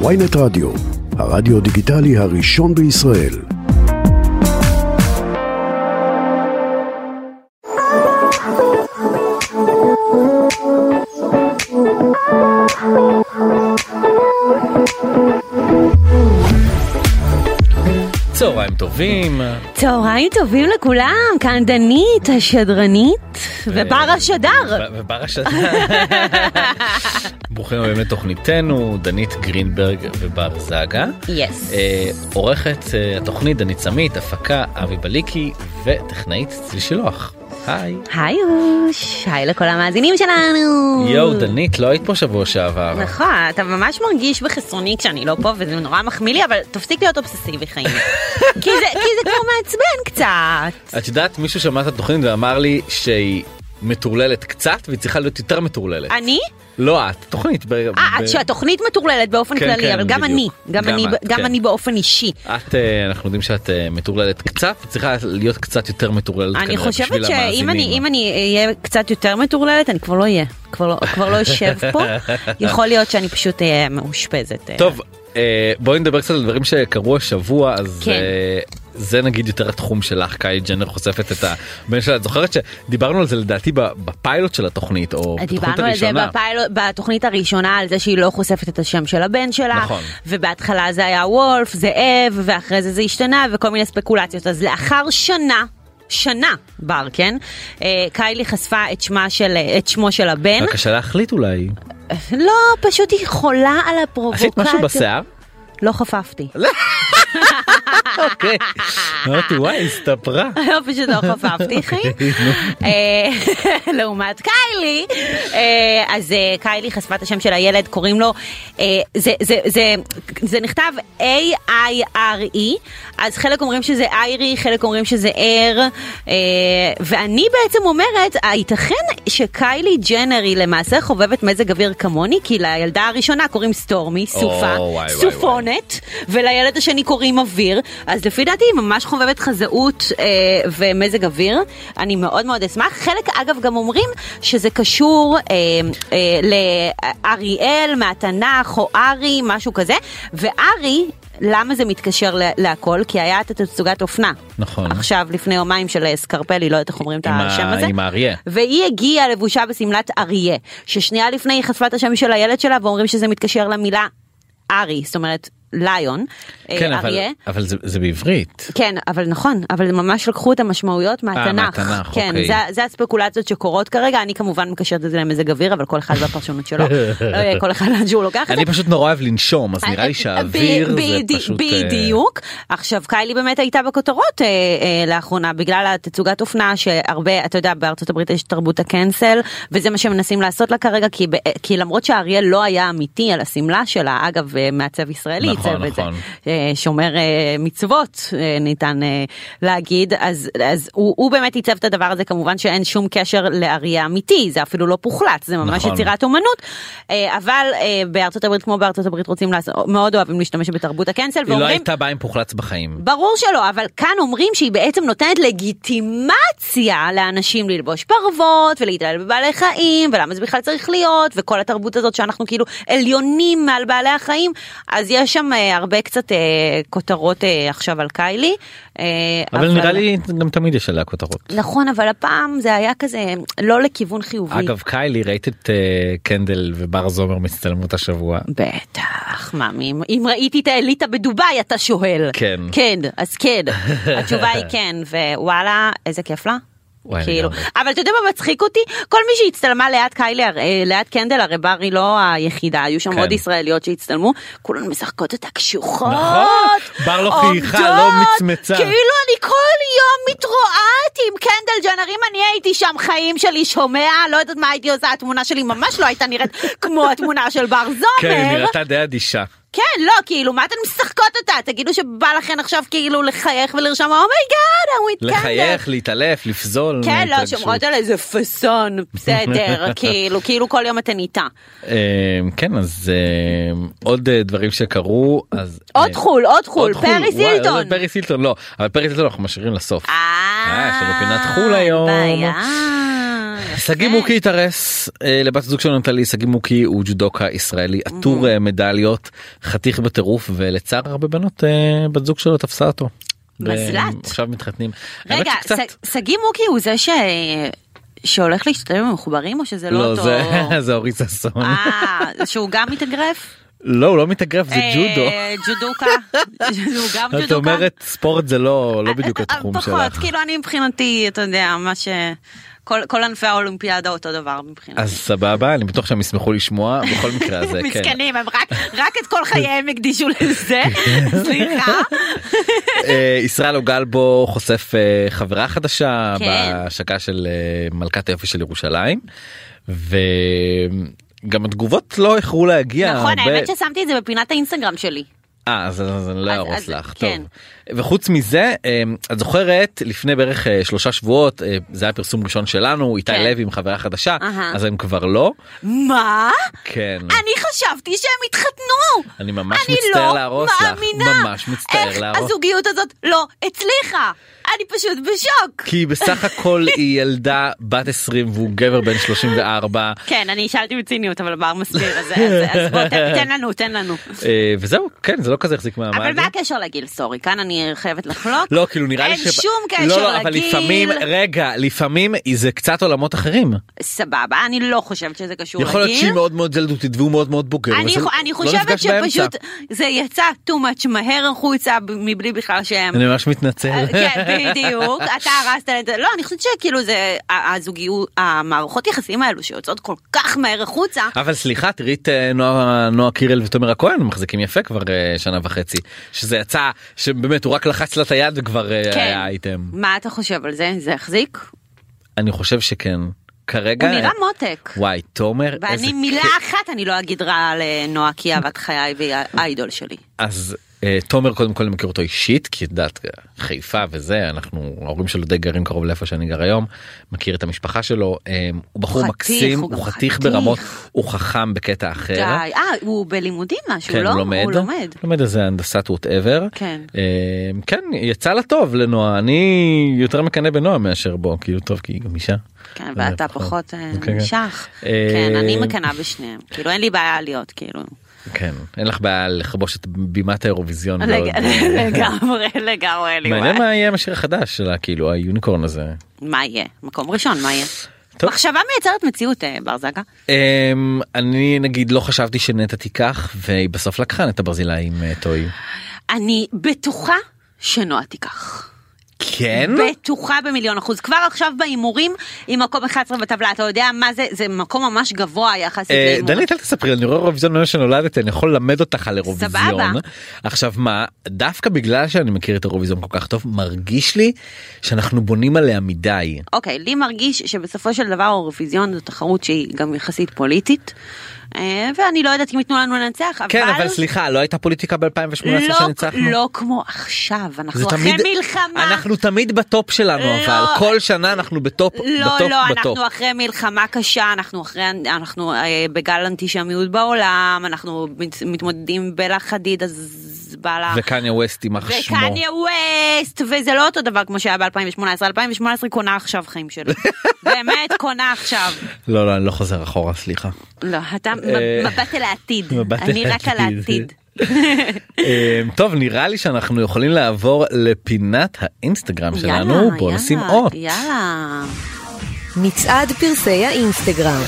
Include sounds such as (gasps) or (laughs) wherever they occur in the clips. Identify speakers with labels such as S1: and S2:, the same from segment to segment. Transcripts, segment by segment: S1: ויינט רדיו, הרדיו דיגיטלי הראשון בישראל.
S2: צהריים טובים,
S3: אה. צהריים טובים לכולם, כאן דנית, השדרנית, ובר
S2: אה,
S3: השדר.
S2: ב- בבר השדר. ברוכים הבאים לתוכניתנו, דנית גרינברג ובר זגה.
S3: יס.
S2: אה, עורכת אה, התוכנית דנית סמית, הפקה אבי בליקי וטכנאית צליל שילוח. היי.
S3: היי אוש, היי לכל המאזינים שלנו.
S2: יואו, דנית, לא היית פה שבוע שעבר.
S3: נכון, אתה ממש מרגיש בחסרוני כשאני לא פה, וזה נורא מחמיא לי, אבל תפסיק להיות אובססיבי
S2: (laughs)
S3: חיים. כי זה כי זה כבר מעצבן קצת.
S2: את יודעת, מישהו שמע את התוכנית ואמר לי שהיא מטורללת קצת והיא צריכה להיות יותר מטורללת.
S3: אני?
S2: לא את, תוכנית. ב-
S3: אה,
S2: ב-
S3: את שהתוכנית מטורללת באופן
S2: כן,
S3: כללי,
S2: כן,
S3: אבל גם
S2: בדיוק.
S3: אני, גם
S2: גם
S3: אני-
S2: את,
S3: גם
S2: כן.
S3: אני באופן אישי.
S2: את אה, אנחנו יודעים שאת אה, מטורללת קצת צריכה להיות קצת יותר מטורללת
S3: אני
S2: כנראה בשביל
S3: חושבת שאם אני,
S2: המאזינים.
S3: אם אני אהיה קצת יותר מטורללת, אני כבר לא אהיה, כבר לא, כבר לא אשב
S2: (laughs)
S3: פה, יכול להיות שאני פשוט אהיה מאושפזת. אה,
S2: טוב אה, בואי נדבר קצת על דברים שקרו השבוע אז
S3: כן.
S2: אה, זה נגיד יותר התחום שלך קיילי ג'נר חושפת את הבן שלה את זוכרת שדיברנו על זה לדעתי ב- בפיילוט של התוכנית או בתוכנית
S3: אה, דיברנו על זה
S2: הראשונה.
S3: בפיילוט, בתוכנית הראשונה, על זה שהיא לא חושפת את השם של הבן שלה,
S2: נכון.
S3: ובהתחלה זה היה וולף, זאב, ואחרי זה זה השתנה, וכל מיני ספקולציות. אז לאחר שנה, שנה בר, כן? אה, קיילי חשפה את, שמה של, את שמו של הבן.
S2: רק השאלה החליט אולי
S3: לא, פשוט היא חולה על הפרובוקציה.
S2: אוקיי. עשית משהו בשיער?
S3: לא חפפתי.
S2: אוקיי. אמרתי וואי
S3: (laughs)
S2: הסתפרה.
S3: לא, פשוט
S2: (laughs)
S3: לא חפפתי, חיים.
S2: אוקיי,
S3: אה, (laughs) לעומת קיילי, אה, אז אה, קיילי חשפה את השם של הילד, קוראים לו, אה, זה- זה- זה- זה נכתב A-I-R-E, E. אז חלק אומרים שזה איירי, חלק אומרים שזה אר, אה, ואני בעצם אומרת, הייתכן שקיילי ג'נר היא למעשה חובבת מזג אוויר כמוני, כי לילדה הראשונה קוראים סטורמי, סופה,
S2: וואי, וואי,
S3: סופון. מתכונת, ולילד השני קוראים אוויר, אז לפי דעתי היא ממש חובבת חזאות אה, ומזג אוויר. אני מאוד מאוד אשמח. חלק אגב גם אומרים שזה קשור אה, אה, לאריאל מהתנ"ך או ארי, משהו כזה, וארי... למה זה מתקשר ל- להכל? כי היה את התצוגת אופנה.
S2: נכון.
S3: עכשיו, לפני יומיים של אה, סקרפלי, לא יודעת איך אומרים את
S2: עם ה-
S3: השם הזה.
S2: עם האריה.
S3: והיא הגיעה לבושה בשמלת אריה, ששנייה לפני היא חשפה את השם של הילד שלה ואומרים שזה מתקשר למילה ארי, זאת אומרת ליון, אה,
S2: כן אבל-
S3: אריה.
S2: אבל זה- זה בעברית.
S3: כן, אבל נכון, אבל ממש לקחו את המשמעויות מהתנ"ך.
S2: אה, מהתנ"ך,
S3: כן,
S2: אוקיי.
S3: זה, זה הספקולציות שקורות כרגע, אני כמובן מקשרת את זה למזג אוויר, אבל כל אחד והפרשנות
S2: (laughs)
S3: שלו, לא יהיה כל אחד לאן שהוא לוקח את זה. אה,
S2: אני פשוט נורא אוהב לנשום אז נראה לי
S3: ב-
S2: שהאוויר
S3: בדי-
S2: זה פשוט. אה,
S3: בדיוק. עכשיו קיילי באמת הייתה בכותרות אה, אה, לאחרונה בגלל התצוגת אופנה שהרבה אתה יודע בארצות הברית יש תרבות הקנסל וזה מה שמנסים לעשות לה כרגע כי, ב- אה, כי למרות שהאריאל לא היה אמיתי על השמלה שלה אגב אה, מעצב ישראלי
S2: נכון,
S3: עיצב את זה.
S2: נכון.
S3: אה, שומר אה, מצוות אה, ניתן אה, להגיד אז אז הוא, הוא באמת עיצב את הדבר הזה כמובן שאין שום קשר לאריה אמיתי זה אפילו לא פוחלץ זה ממש
S2: נכון.
S3: יצירת אומנות אה, אבל אה, בארצות הברית כמו בארצות הברית רוצים לעשות מאוד אוהבים להשתמש בתרבות הקנסל
S2: היא לא
S3: ואומרים.
S2: הייתה באה עם פוחלץ בחיים.
S3: ברור שלא, אבל כאן אומרים שהיא בעצם נותנת לגיטימציה לאנשים ללבוש פרוות ולהתעלל בבעלי חיים ולמה זה בכלל צריך להיות וכל התרבות הזאת שאנחנו כאילו עליונים מעל בעלי החיים אז יש שם אה, הרבה קצת אה, כותרות אה, עכשיו על קיילי. אה,
S2: אבל נראה לי גם תמיד יש עליה כותרות.
S3: נכון אבל הפעם זה היה כזה לא לכיוון חיובי.
S2: אגב קיילי ראית את אה, קנדל ובר זומר מצטלמות
S3: (laughs)
S2: השבוע
S3: בטח, מה, אם, אם ראיתי את האליטה בדובאי אתה שואל.
S2: כן.
S3: כן, אז
S2: (laughs)
S3: כן. התשובה היא כן, ווואלה, איזה כיף לה.
S2: וואי,
S3: כאילו,
S2: לגמרי.
S3: אבל אתה יודע מה מצחיק אותי? כל מי שהצטלמה ליד קיילי, הר- אה, ליד קנדל, הרי בר היא לא היחידה, היו שם
S2: כן.
S3: עוד ישראליות שהצטלמו, כולן משחקות אותה קשוחות.
S2: נכון. בר לא חייכה, לא
S3: עומדות,
S2: מצמצה.
S3: כאילו אני כל יום מתרועעת עם קנדל ג'נר, אם אני הייתי שם חיים שלי שומע, לא יודעת מה הייתי עושה, התמונה שלי ממש לא הייתה נראית כמו התמונה של בר זומר.
S2: כן היא נראתה די אדישה
S3: כן, לא, כאילו, מה אתן משחקות אותה? תגידו שבא לכן עכשיו כאילו לחייך ולרשום, אומייגאד, הוא
S2: לחייך להתעלף לפזול
S3: כן, לא,
S2: מהתרגשות.
S3: שומרות על איזה פאסון, בסדר,
S2: (laughs)
S3: כאילו, כאילו כל יום אתן איתה.
S2: אה, כן אז אה, עוד אה, דברים שקרו אז
S3: עוד
S2: אה,
S3: חו"ל, עוד חו"ל,
S2: עוד חו"ל,
S3: פרי
S2: וואי,
S3: סילטון.
S2: לא, פריס הילטון לא אבל פריס הילטון אנחנו משאירים לסוף
S3: אה,
S2: יש לנו פינת חו"ל היום.
S3: בעיה.
S2: שגיא
S3: אוקיי.
S2: מוקי התארס אה, לבת זוג שלו נטלי שגיא מוקי הוא ג'ודוקה ישראלי עטור אה, מדליות חתיך בטירוף ולצער הרבה בנות אה, בת זוג שלו תפסה אותו.
S3: מזל"ט.
S2: והם עכשיו מתחתנים. האמת
S3: רגע,
S2: שקצת-
S3: ש- שגיא מוקי הוא זה ש... שהולך להשתתף במחוברים או שזה לא
S2: לא
S3: אותו?
S2: זה זה (laughs) אורי ששון.
S3: אה, שהוא גם מתאגרף?
S2: לא הוא לא מתאגרף זה
S3: אה,
S2: ג'ודו.
S3: ג'ודוקה. (laughs) הוא גם
S2: את
S3: ג'ודוקה. אה,
S2: אומרת ספורט זה לא לא בדיוק התחום
S3: פחות,
S2: שלך.
S3: כאילו אני מבחינתי, אתה יודע, מה ש... כל כל ענפי האולימפיאדה אותו דבר מבחינתי.
S2: אז סבבה אני בטוח שהם ישמחו לשמוע בכל מקרה
S3: (laughs)
S2: אז אה, כן.
S3: מסכנים, הם רק, רק את כל חייהם הקדישו
S2: (laughs)
S3: לזה, סליחה.
S2: אה, ישראל אוגלבו חושף אה, חברה חדשה
S3: כן.
S2: בהשקה של אה, מלכת היופי של ירושלים וגם התגובות לא איחרו להגיע.
S3: נכון,
S2: הרבה-
S3: האמת ששמתי את זה בפינת האינסטגרם שלי.
S2: אה, אז אז אני לא
S3: אז-
S2: אהרוס
S3: אז-
S2: לך,
S3: כן.
S2: טוב. וחוץ מזה, אה, את זוכרת לפני בערך אה, שלושה שבועות, אה, זה היה פרסום ראשון שלנו, איתי
S3: כן.
S2: לוי עם חברה חדשה,
S3: אהה.
S2: אז הם כבר לא.
S3: מה?
S2: כן.
S3: אני חשבתי שהם התחתנו!
S2: אני ממש
S3: אני
S2: מצטער
S3: לא
S2: להרוס לך.
S3: מאמינה.
S2: ממש מצטער
S3: איך
S2: להרוס.
S3: הזוגיות הזאת לא הצליחה? אני פשוט בשוק.
S2: כי בסך
S3: (laughs)
S2: הכל היא ילדה בת 20 והוא גבר בן 34
S3: כן, אני שאלתי בציניות, אבל בר מסביר, אז- אז אז בוא, תן תן לנו, תן לנו.
S2: אה, וזהו כן זה לא כזה החזיק מעמד.
S3: אבל מה הקשר לגיל? סורי, כאן אני חייבת לחלוק.
S2: לא כאילו נראה לי
S3: אין שום קשר
S2: לא, לא, אבל
S3: לגיל.
S2: לפעמים רגע לפעמים זה קצת עולמות אחרים
S3: סבבה, אני לא חושבת שזה קשור לגיל.
S2: יכול להיות שהיא מאוד מאוד ילדותית והוא מאוד מאוד בוגר.
S3: אני,
S2: וזה
S3: חו- אני
S2: לא
S3: חושבת
S2: נפגש באמצע.
S3: שפשוט זה יצא too much מהר החוצה ב- מבלי בכלל שהם...
S2: אני ממש מתנצל.
S3: אה,
S2: (laughs)
S3: (laughs) כן, בדיוק, אתה הרסת את זה, לא, אני חושבת שכאילו זה, ה- הזוגיות, המערכות יחסים האלו שיוצאות כל כך מהר החוצה,
S2: אבל סליחה תראי את אה, נועה נועה קירל ותומר הכהן מחזיקים יפה כבר אה, שנה וחצי שזה יצא שבאמת הוא רק לחץ לה את היד וכבר אה,
S3: כן.
S2: היה אייטם.
S3: מה אתה חושב על זה? זה החזיק?
S2: אני חושב שכן. כרגע
S3: הוא נראה מותק.
S2: וואי תומר אה. איזה
S3: ואני מילה
S2: כיף. אחת
S3: אחת אני לא אגיד רע על אה, נועה כי היא אהבת חיי והיא האיידול שלי.
S2: אז אה, תומר קודם כל אני מכיר אותו אישית כי את יודעת חיפה וזה אנחנו ההורים שלו די גרים קרוב לאיפה שאני גר היום מכיר את המשפחה שלו אה, הוא בחור
S3: חתיך,
S2: מקסים
S3: הוא גם
S2: הוא חתיך
S3: חתיך.
S2: ברמות הוא חכם בקטע אחר.
S3: די, אה, הוא בלימודים משהו,
S2: כן,
S3: לא?
S2: הוא לומד,
S3: הוא לומד.
S2: לומד איזה הנדסת ווטאבר,
S3: כן.
S2: כן, יצא לה טוב לנועה, אני יותר מקנא בנועה מאשר בו, כאילו טוב כי היא גם אישה.
S3: כן,
S2: אז
S3: ואתה
S2: זה
S3: פחות אה,
S2: כן, כן.
S3: נמשך.
S2: אה,
S3: כן, אני מקנאה בשניהם. כאילו, אין לי בעיה להיות, כאילו.
S2: כן, אין לך בעיה לכבוש את בימת האירוויזיון. בעוד- אה,
S3: לג- (laughs) לגמרי, לגמרי, אין לי
S2: מעניין
S3: בעיה.
S2: מה יהיה המשיר החדש שלה, כאילו היוניקורן הזה.
S3: מה יהיה? מקום ראשון, מה יהיה?
S2: טוב.
S3: מחשבה מייצרת מציאות, אה, בר זגה.
S2: אמ, אני נגיד לא חשבתי שנטע תיקח, והיא בסוף לקחה נטע ברזילי עם אה, טוי.
S3: אני בטוחה שנועה תיקח.
S2: כן?
S3: בטוחה במיליון אחוז. כבר עכשיו בהימורים היא מקום 11 בטבלה, אתה יודע מה זה? זה מקום ממש גבוה יחסית
S2: אה,
S3: להימור.
S2: דנית אל תספרי אני רואה אירוויזיון מאז שנולדתי אני יכול ללמד אותך על אירוויזיון.
S3: סבבה.
S2: עכשיו מה דווקא בגלל שאני מכיר את אירוויזיון כל כך טוב מרגיש לי שאנחנו בונים עליה מדי.
S3: אוקיי, לי מרגיש שבסופו של דבר האירוויזיון זו תחרות שהיא גם יחסית פוליטית, אה, ואני לא יודעת אם ייתנו לנו לנצח, אבל...
S2: כן אבל סליחה לא הייתה פוליטיקה ב2018
S3: לא,
S2: שניצחנו.
S3: לא כמו עכשיו, אנחנו
S2: זה
S3: אחרי
S2: תמיד
S3: מלחמה.
S2: אנחנו תמיד בטופ שלנו
S3: לא.
S2: אבל כל שנה אנחנו בטופ
S3: לא,
S2: בטופ
S3: לא,
S2: בטופ.
S3: אנחנו אחרי מלחמה קשה, אנחנו אחרי, אנחנו אה, בגל אנטישמיות בעולם, אנחנו מת- מתמודדים עם בלה חדיד, אז בעלה...
S2: וקניה ווסט יימח שמו.
S3: וקניה ווסט, וזה לא אותו דבר כמו שהיה ב-2018, 2018 קונה עכשיו חיים
S2: (laughs)
S3: שלו. באמת, קונה עכשיו.
S2: לא לא אני לא חוזר אחורה סליחה.
S3: לא, אתה מ-
S2: אה,
S3: מבט אל העתיד,
S2: מבט
S3: אני
S2: אל
S3: רק על
S2: העתיד.
S3: העתיד.
S2: אמ, טוב נראה לי שאנחנו יכולים לעבור לפינת האינסטגרם שלנו בוא
S3: יאללה,
S2: נשים אות.
S3: יאללה.
S4: מצעד פרסי האינסטגרם.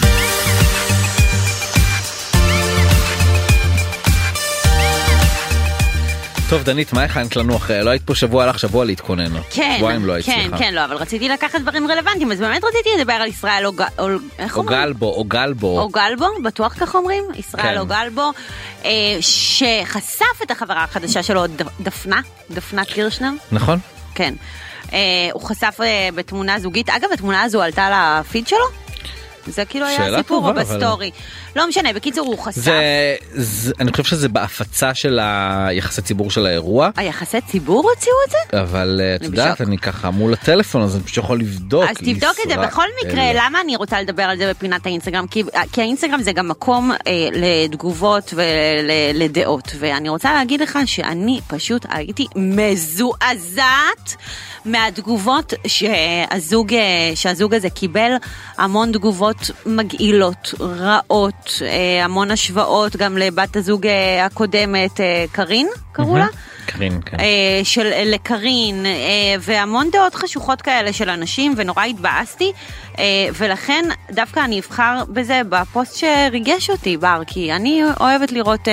S2: טוב דנית מה הכנת לנו אחרי לא היית פה שבוע הלך שבוע להתכונן.
S3: כן,
S2: שבועיים לא היית
S3: כן,
S2: סליחה.
S3: כן, לא, אבל רציתי לקחת דברים רלוונטיים, אז באמת רציתי לדבר על ישראל אוג... אול- איך
S2: או
S3: אומרים?
S2: גלבו או גלבו.
S3: אוגלבו, בטוח כך אומרים?
S2: כן.
S3: ישראל אוגלבו, אה, שחשף את החברה החדשה שלו, ד- דפנה, דפנה קירשנר,
S2: נכון?
S3: כן. אה, הוא חשף אה, בתמונה זוגית, אגב התמונה הזו עלתה לפיד שלו? זה כאילו היה
S2: שאלה
S3: הסיפור או
S2: טובה, אבל-
S3: בסטורי. לא משנה, בקיצור הוא חשף.
S2: זה, זה אני חושב שזה בהפצה של היחסי ציבור של האירוע
S3: היחסי ציבור הוציאו את זה?
S2: אבל אה, את
S3: אני
S2: יודעת
S3: בשוק.
S2: אני ככה מול הטלפון אז אני פשוט יכול לבדוק.
S3: אז תבדוק את זה
S2: ישראל.
S3: בכל מקרה למה אני רוצה לדבר על זה בפינת האינסטגרם כי, אה, כי האינסטגרם זה גם מקום אה, לתגובות ולדעות ואני רוצה להגיד לך שאני פשוט הייתי מזועזעת מהתגובות שהזוג, אה, שהזוג הזה קיבל המון תגובות מגעילות רעות אה, המון השוואות גם לבת הזוג אה, הקודמת אה, קארין קראו לה.
S2: קרין, כן.
S3: אה, של אה, לקרין, אה, והמון דעות חשוכות כאלה של אנשים, ונורא התבאסתי, אה, ולכן דווקא אני אבחר בזה בפוסט שריגש אותי בר, כי אני אוהבת לראות אה,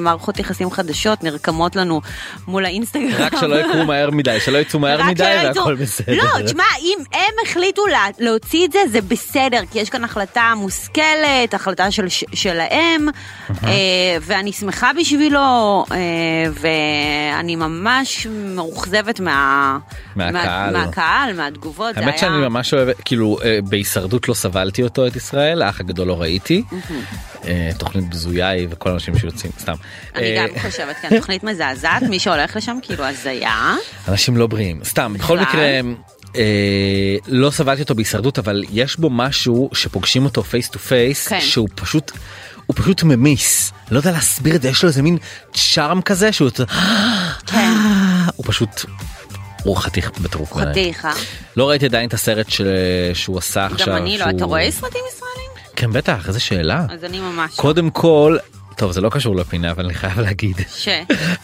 S3: מערכות יחסים חדשות נרקמות לנו מול האינסטגרם.
S2: רק שלא יקרו מהר מדי שלא יצאו מהר
S3: רק
S2: מדי
S3: שלא יצאו-
S2: והכל בסדר.
S3: לא, תשמע, אם הם החליטו לה, להוציא את זה, זה בסדר, כי יש כאן החלטה מושכלת, החלטה של, ש- שלהם, אה, ואני שמחה בשבילו, אה, ואני ממש מאוכזבת מה,
S2: מהקהל.
S3: מה, מהקהל, מהתגובות. זה
S2: האמת
S3: היה...
S2: שאני ממש אוהב כאילו אה, בהישרדות לא סבלתי אותו את ישראל האח הגדול לא ראיתי אה, תוכנית בזויה היא וכל האנשים שיוצאים סתם.
S3: אני
S2: אה,
S3: גם חושבת, כן,
S2: (laughs)
S3: תוכנית מזעזעת, מי שהולך לשם כאילו הזיה.
S2: אנשים לא בריאים סתם בכל
S3: בכלל.
S2: מקרה אה, לא סבלתי אותו בהישרדות אבל יש בו משהו שפוגשים אותו פייס טו פייס
S3: כן.
S2: שהוא פשוט הוא פשוט ממיס לא יודע להסביר את זה יש לו איזה מין צ'ארם כזה שהוא אתה-
S3: כן,
S2: (gasps) אה, הוא פשוט הוא חתיך בטירוף. בעיניי.
S3: חתיכה.
S2: לא ראיתי עדיין את הסרט ש... שהוא עשה עכשיו.
S3: גם אני לא,
S2: שהוא-
S3: אתה רואה סרטים ישראלים?
S2: כן בטח איזה שאלה.
S3: אז אני ממש... לא.
S2: קודם כל טוב זה לא קשור לפינה אבל אני חייב להגיד. (laughs)
S3: ש...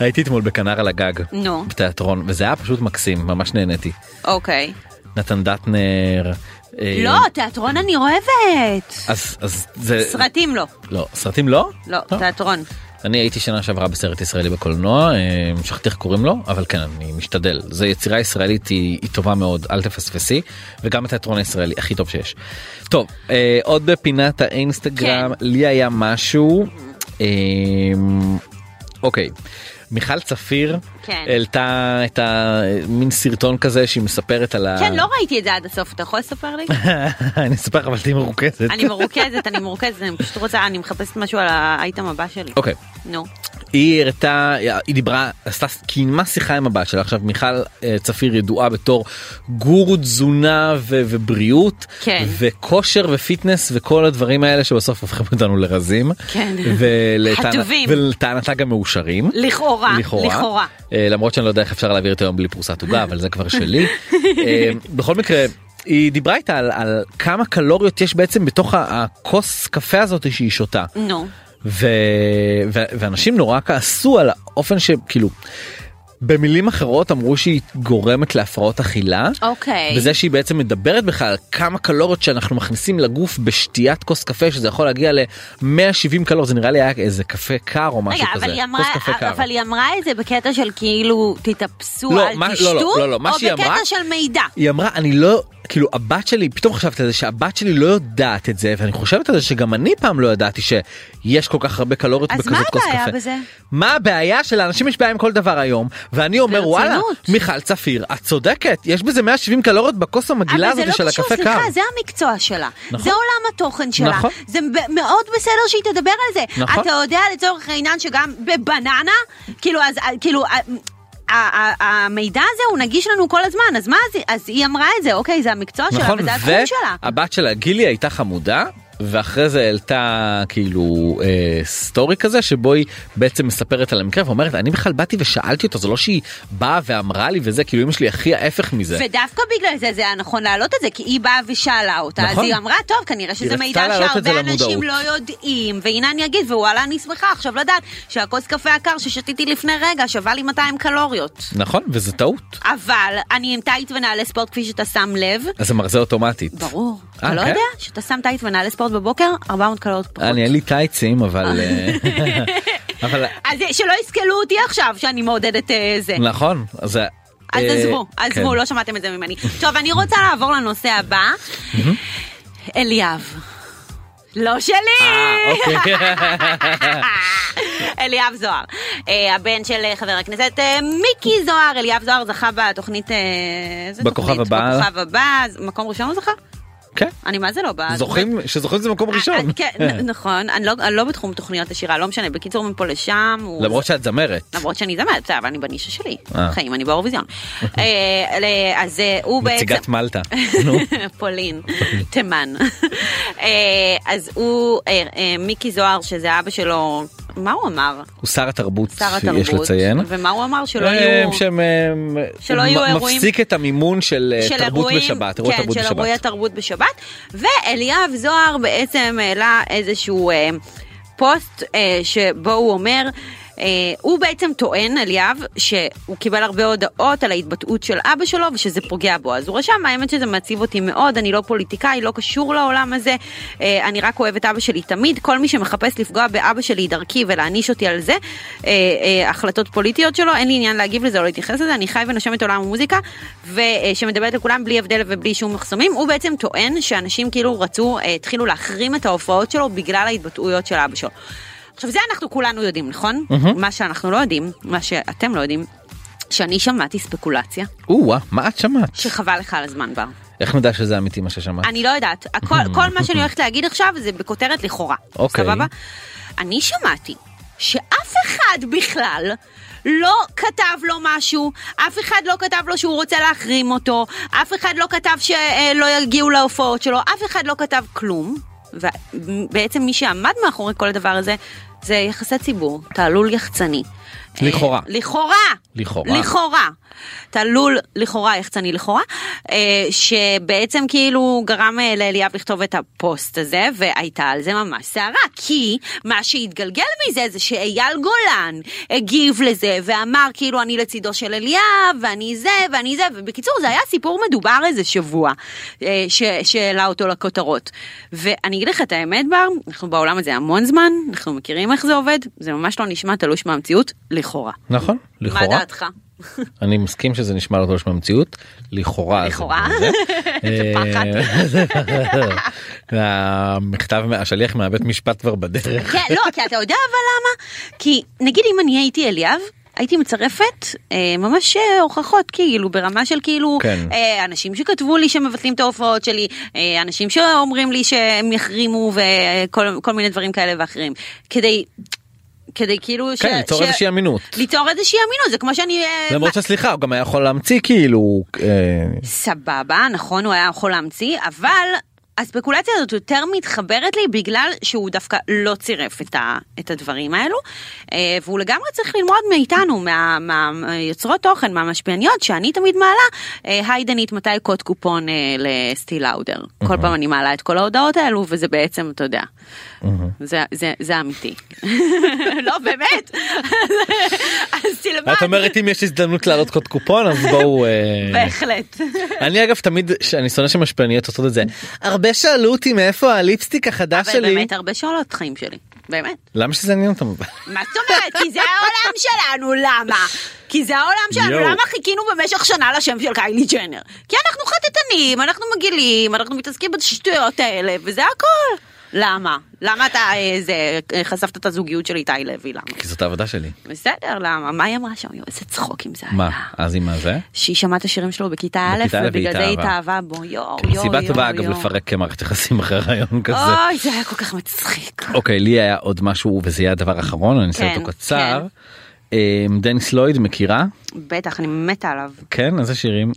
S2: הייתי אתמול בכנר על הגג
S3: נו.
S2: בתיאטרון וזה היה פשוט מקסים ממש נהניתי.
S3: אוקיי.
S2: נתן דטנר. אה,
S3: לא, תיאטרון אני אוהבת.
S2: אז אז זה
S3: סרטים לא.
S2: לא סרטים לא
S3: לא, תיאטרון.
S2: אני הייתי שנה שעברה בסרט ישראלי בקולנוע אה, שכחתי איך קוראים לו אבל כן אני משתדל זה יצירה ישראלית היא, היא טובה מאוד אל תפספסי וגם התיאטרון הישראלי הכי טוב שיש. טוב אה, עוד בפינת האינסטגרם
S3: כן.
S2: לי היה משהו אה, אוקיי. מיכל צפיר
S3: כן.
S2: העלתה את המין סרטון כזה שהיא מספרת על ה...
S3: כן, לא ראיתי את זה עד הסוף, אתה יכול לספר לי?
S2: (laughs) אני אספר לך אבל תהיי מרוכזת.
S3: אני מרוכזת, אני מרוכזת, אני פשוט רוצה, אני מחפשת משהו על האייטם הבא שלי.
S2: אוקיי.
S3: נו.
S2: היא הראתה, היא דיברה, עשתה, קיימה שיחה עם הבת שלה. עכשיו מיכל אה, צפיר ידועה בתור גורו תזונה ו- ובריאות,
S3: כן.
S2: וכושר ופיטנס וכל הדברים האלה שבסוף הופכים אותנו לרזים.
S3: כן.
S2: ולטענת-
S3: חטובים.
S2: ולטענתה גם מאושרים.
S3: לכאורה, לכאורה.
S2: אה, למרות שאני לא יודע איך אפשר להעביר את היום בלי פרוסת עוגה אבל זה כבר
S3: (laughs)
S2: שלי. אה, בכל מקרה. היא דיברה איתה על, על כמה קלוריות יש בעצם בתוך ה- הכוס קפה הזאת שהיא שותה.
S3: נו.
S2: ו... ו... ואנשים נורא כעסו על האופן שכאילו במילים אחרות אמרו שהיא גורמת להפרעות אכילה.
S3: אוקיי.
S2: וזה שהיא בעצם מדברת בכלל על כמה קלוריות שאנחנו מכניסים לגוף בשתיית כוס קפה שזה יכול להגיע ל-170 קלוריות זה נראה לי היה איזה קפה קר או משהו
S3: רגע,
S2: כזה.
S3: אבל היא אמרה-
S2: כוס קפה קר.
S3: אבל היא אמרה את זה בקטע של כאילו תתאפסו
S2: לא,
S3: על
S2: מה- לא,
S3: תשתו,
S2: לא, לא, לא, מה
S3: או
S2: שהיא אמרה-
S3: בקטע של מידע.
S2: היא אמרה אני לא כאילו הבת שלי פתאום חשבתי על זה שהבת שלי לא יודעת את זה ואני חושבת על זה שגם אני פעם לא ידעתי שיש כל כך הרבה קלוריות
S3: אז
S2: בכזאת
S3: מה
S2: כוס קפה.
S3: הבעיה בזה?
S2: מה הבעיה שלאנשים יש בעיה עם כל דבר היום ואני אומר
S3: ברצינות.
S2: וואלה מיכל צפיר את צודקת יש בזה 170 קלוריות בכוס המגעילה הזאת של
S3: אבל זה
S2: הקפה
S3: לא קשור,
S2: קר.
S3: סליחה, זה המקצוע שלה.
S2: נכון.
S3: זה עולם התוכן שלה.
S2: נכון.
S3: זה ב- מאוד בסדר שהיא תדבר על זה.
S2: נכון.
S3: אתה יודע לצורך העניין שגם בבננה, כאילו, אז, אה, כאילו... אה, ה- ה- המידע הזה הוא נגיש לנו כל הזמן, אז מה, אז- אז היא אמרה את זה, אוקיי, זה המקצוע שלה
S2: נכון
S3: וזה התחום שלה.
S2: והבת שלה גילי הייתה חמודה ואחרי זה העלתה כאילו אה, סטורי כזה שבו היא בעצם מספרת על המקרה ואומרת אני בכלל באתי ושאלתי אותו זה לא שהיא באה ואמרה לי וזה כאילו אמא שלי הכי ההפך מזה.
S3: ודווקא בגלל זה זה היה נכון להעלות את זה, כי היא באה ושאלה אותה,
S2: נכון.
S3: אז היא אמרה, טוב, כנראה שזה
S2: רצתה
S3: מידע
S2: להעלות את זה
S3: שהרבה אנשים
S2: למודעות."
S3: לא יודעים, והנה אני אגיד, ווואלה, אני שמחה עכשיו לדעת שהכוס קפה הקר ששתיתי לפני רגע שווה לי 200 קלוריות.
S2: נכון וזה טעות
S3: אבל אני עם טייט ונעלי ספורט כפי שאתה שם לב.
S2: אז זה מרזה אוטומטית.
S3: ברור.
S2: אה,
S3: אתה לא
S2: כן?
S3: יודע שאתה שם טייט ונעלי ספורט בבוקר, 400 קלוריות פחות.
S2: אני אין לי טייצים אבל אה,
S3: (laughs)
S2: אבל
S3: אז אה, שלא יסכלו אותי עכשיו שאני מעודדת אה, זה.
S2: נכון אז אה,
S3: אז עזבו, עזבו,
S2: כן.
S3: לא שמעתם את זה ממני. טוב, אני רוצה לעבור לנושא הבא. אליאב. לא שלי!
S2: אה, אוקיי.
S3: (laughs) אליאב זוהר, אה, הבן של אה, חבר הכנסת אה, מיקי זוהר, אליאב זוהר זכה בתוכנית, אה, איזה
S2: בכוכב
S3: תוכנית?
S2: הבא.
S3: בכוכב הבא, אז מקום ראשון הוא זכה?
S2: כן.
S3: אני מה זה לא באה.
S2: זוכים שזוכים זה מקום ראשון.
S3: כן, נ- נכון, אני לא, אני לא בתחום תוכניות השירה, לא משנה, בקיצור מפה לשם. הוא-
S2: (laughs) למרות שאת זמרת.
S3: למרות שאני זמרת, בסדר, אבל אני בנישה שלי,
S2: אה.
S3: חיים, אני באירוויזיון. אה, ל- אז אה, הוא בעצם... (laughs)
S2: נציגת מלטה. נו.
S3: פולין, תימן. אה, אז הוא, אה, אה, מיקי זוהר, שזה אבא שלו, מה הוא אמר?
S2: הוא שר התרבות,
S3: שר התרבות.
S2: יש לציין.
S3: ומה הוא אמר? שלא
S2: אה,
S3: יהיו...
S2: שהם, אה,
S3: שלא
S2: הוא
S3: יהיו
S2: מ-
S3: אירועים-
S2: מפסיק את המימון של אה,
S3: של
S2: תרבות
S3: אירועים-
S2: בשבת, אירוע
S3: כן,
S2: תרבות
S3: של אירועי
S2: בשבת.
S3: התרבות בשבת. ואליאב זוהר בעצם העלה איזשהו אה, פוסט אה, שבו הוא אומר, אה, הוא בעצם טוען, אליאב, שהוא קיבל הרבה הודעות על ההתבטאות של אבא שלו ושזה פוגע בו. אז הוא רשם, האמת שזה מעציב אותי מאוד, אני לא פוליטיקאי, לא קשור לעולם הזה, אה, אני רק אוהב את אבא שלי תמיד, כל מי שמחפש לפגוע באבא שלי דרכי ולהעניש אותי על זה, אה, אה, החלטות פוליטיות שלו, אין לי עניין להגיב לזה או להתייחס לזה, אני חי ונושם את עולם המוזיקה, ושמדברת לכולם בלי הבדל ובלי שום מחסומים, הוא בעצם טוען שאנשים כאילו רצו, אה, התחילו להחרים את ההופעות שלו בגלל ההתבטאויות של אבא שלו. עכשיו זה אנחנו כולנו יודעים, נכון? מה שאנחנו לא יודעים, מה שאתם לא יודעים, שאני שמעתי ספקולציה,
S2: או-אה, מה את שמעת?
S3: שחבל לך על הזמן בר.
S2: איך נדע שזה אמיתי מה ששמעת?
S3: אני לא יודעת, הכל,
S2: (laughs)
S3: כל מה שאני הולכת להגיד עכשיו זה בכותרת לכאורה,
S2: אוקיי.
S3: סבבה? אני שמעתי שאף אחד בכלל לא כתב לו משהו, אף אחד לא כתב לו שהוא רוצה להחרים אותו, אף אחד לא כתב שלא יגיעו להופעות שלו, אף אחד לא כתב כלום, ובעצם מי שעמד מאחורי כל הדבר הזה זה יחסי ציבור, תעלול יחצני.
S2: לכאורה.
S3: אה, לכאורה.
S2: לכאורה.
S3: לכאורה. תלול לכאורה, יחצני לכאורה, אה, שבעצם כאילו גרם אה, לאליאב לכתוב את הפוסט הזה, והייתה על זה ממש סערה, כי מה שהתגלגל מזה זה שאייל גולן הגיב לזה, ואמר כאילו אני לצידו של אליאב, ואני זה, ואני זה, ובקיצור זה היה סיפור מדובר איזה שבוע, אה, ש- שהעלה אותו לכותרות. ואני אגיד לך את האמת בר, אנחנו בעולם הזה המון זמן, אנחנו מכירים איך זה עובד, זה ממש לא נשמע תלוש מהמציאות, לכאורה.
S2: נכון, לכאורה.
S3: מה דעתך?
S2: (laughs) אני מסכים שזה נשמע לא תלוש מהמציאות, לכאורה. זה
S3: לכאורה.
S2: זה.
S3: (laughs) איזה
S2: (laughs)
S3: פחד.
S2: אה, המכתב, מה- השליח מהבית משפט כבר בדרך.
S3: כן, לא, כי אתה יודע אבל למה? כי נגיד אם אני הייתי אליאב, הייתי מצרפת אה, ממש אה, הוכחות כאילו ברמה של כאילו
S2: כן.
S3: אה, אנשים שכתבו לי שמבטלים את ההופעות שלי, אה, אנשים שאומרים לי שהם יחרימו וכל כל מיני דברים כאלה ואחרים. כדי, כדי כאילו... ש-
S2: כן, ליצור
S3: ש-
S2: איזושהי אמינות.
S3: ליצור איזושהי אמינות, זה כמו שאני... אה,
S2: למרות שסליחה, הוא גם היה יכול להמציא כאילו... אה,
S3: סבבה, נכון, הוא היה יכול להמציא, אבל הספקולציה הזאת יותר מתחברת לי בגלל שהוא דווקא לא צירף את, ה, את הדברים האלו, אה, והוא לגמרי צריך ללמוד מאיתנו, מהיוצרות מה, מהיוצרות תוכן, מהמשפיעניות, שאני תמיד מעלה, אה, היי דנית, מתי קוד קופון אה, לסטיל אאודר? כל פעם אני מעלה את כל ההודעות האלו, וזה בעצם, אתה יודע, זה, זה, זה אמיתי. (laughs) לא, באמת. (laughs) אז תלמד.
S2: את אומרת אם יש הזדמנות לעלות קוד קופון אז בואו אה,
S3: (laughs) בהחלט.
S2: אני אגב תמיד שאני שונא שמשפיעניות עושות את זה הרבה שאלו אותי מאיפה הליפסטיק החדש
S3: אבל
S2: שלי
S3: באמת הרבה שואלות חיים שלי, באמת.
S2: למה שזה עניין אותם (laughs)
S3: מה זאת אומרת? כי זה העולם שלנו, למה? כי זה העולם שלנו,
S2: יואו.
S3: למה חיכינו במשך שנה לשם של קיילי ג'נר? כי אנחנו חטטנים, אנחנו מגעילים, אנחנו מתעסקים בשטויות האלה, וזה הכל. למה? למה אתה אה, זה, אה, חשפת את הזוגיות של איתי לוי, למה?
S2: כי זאת העבודה שלי
S3: בסדר, למה? מה היא אמרה שם? יואו, איזה צחוקים זה היה.
S2: מה אז עם הזה
S3: שהיא שמעה את השירים שלו בכיתה א',
S2: בכיתה א',
S3: ובגלל זה היא
S2: והתאהבה.
S3: התאהבה בו, יואו, יואו, יואו.
S2: סיבה טובה אגב
S3: יואו. אה.
S2: לפרק מערכת יחסים אחרי רעיון כזה.
S3: אוי, זה היה כל כך מצחיק.
S2: אוקיי לי היה עוד משהו וזה יהיה הדבר האחרון אני אעשה
S3: כן,
S2: אותו קצר. אה, דניס לויד מכירה
S3: בטח, אני מתה עליו.
S2: כן איזה שירים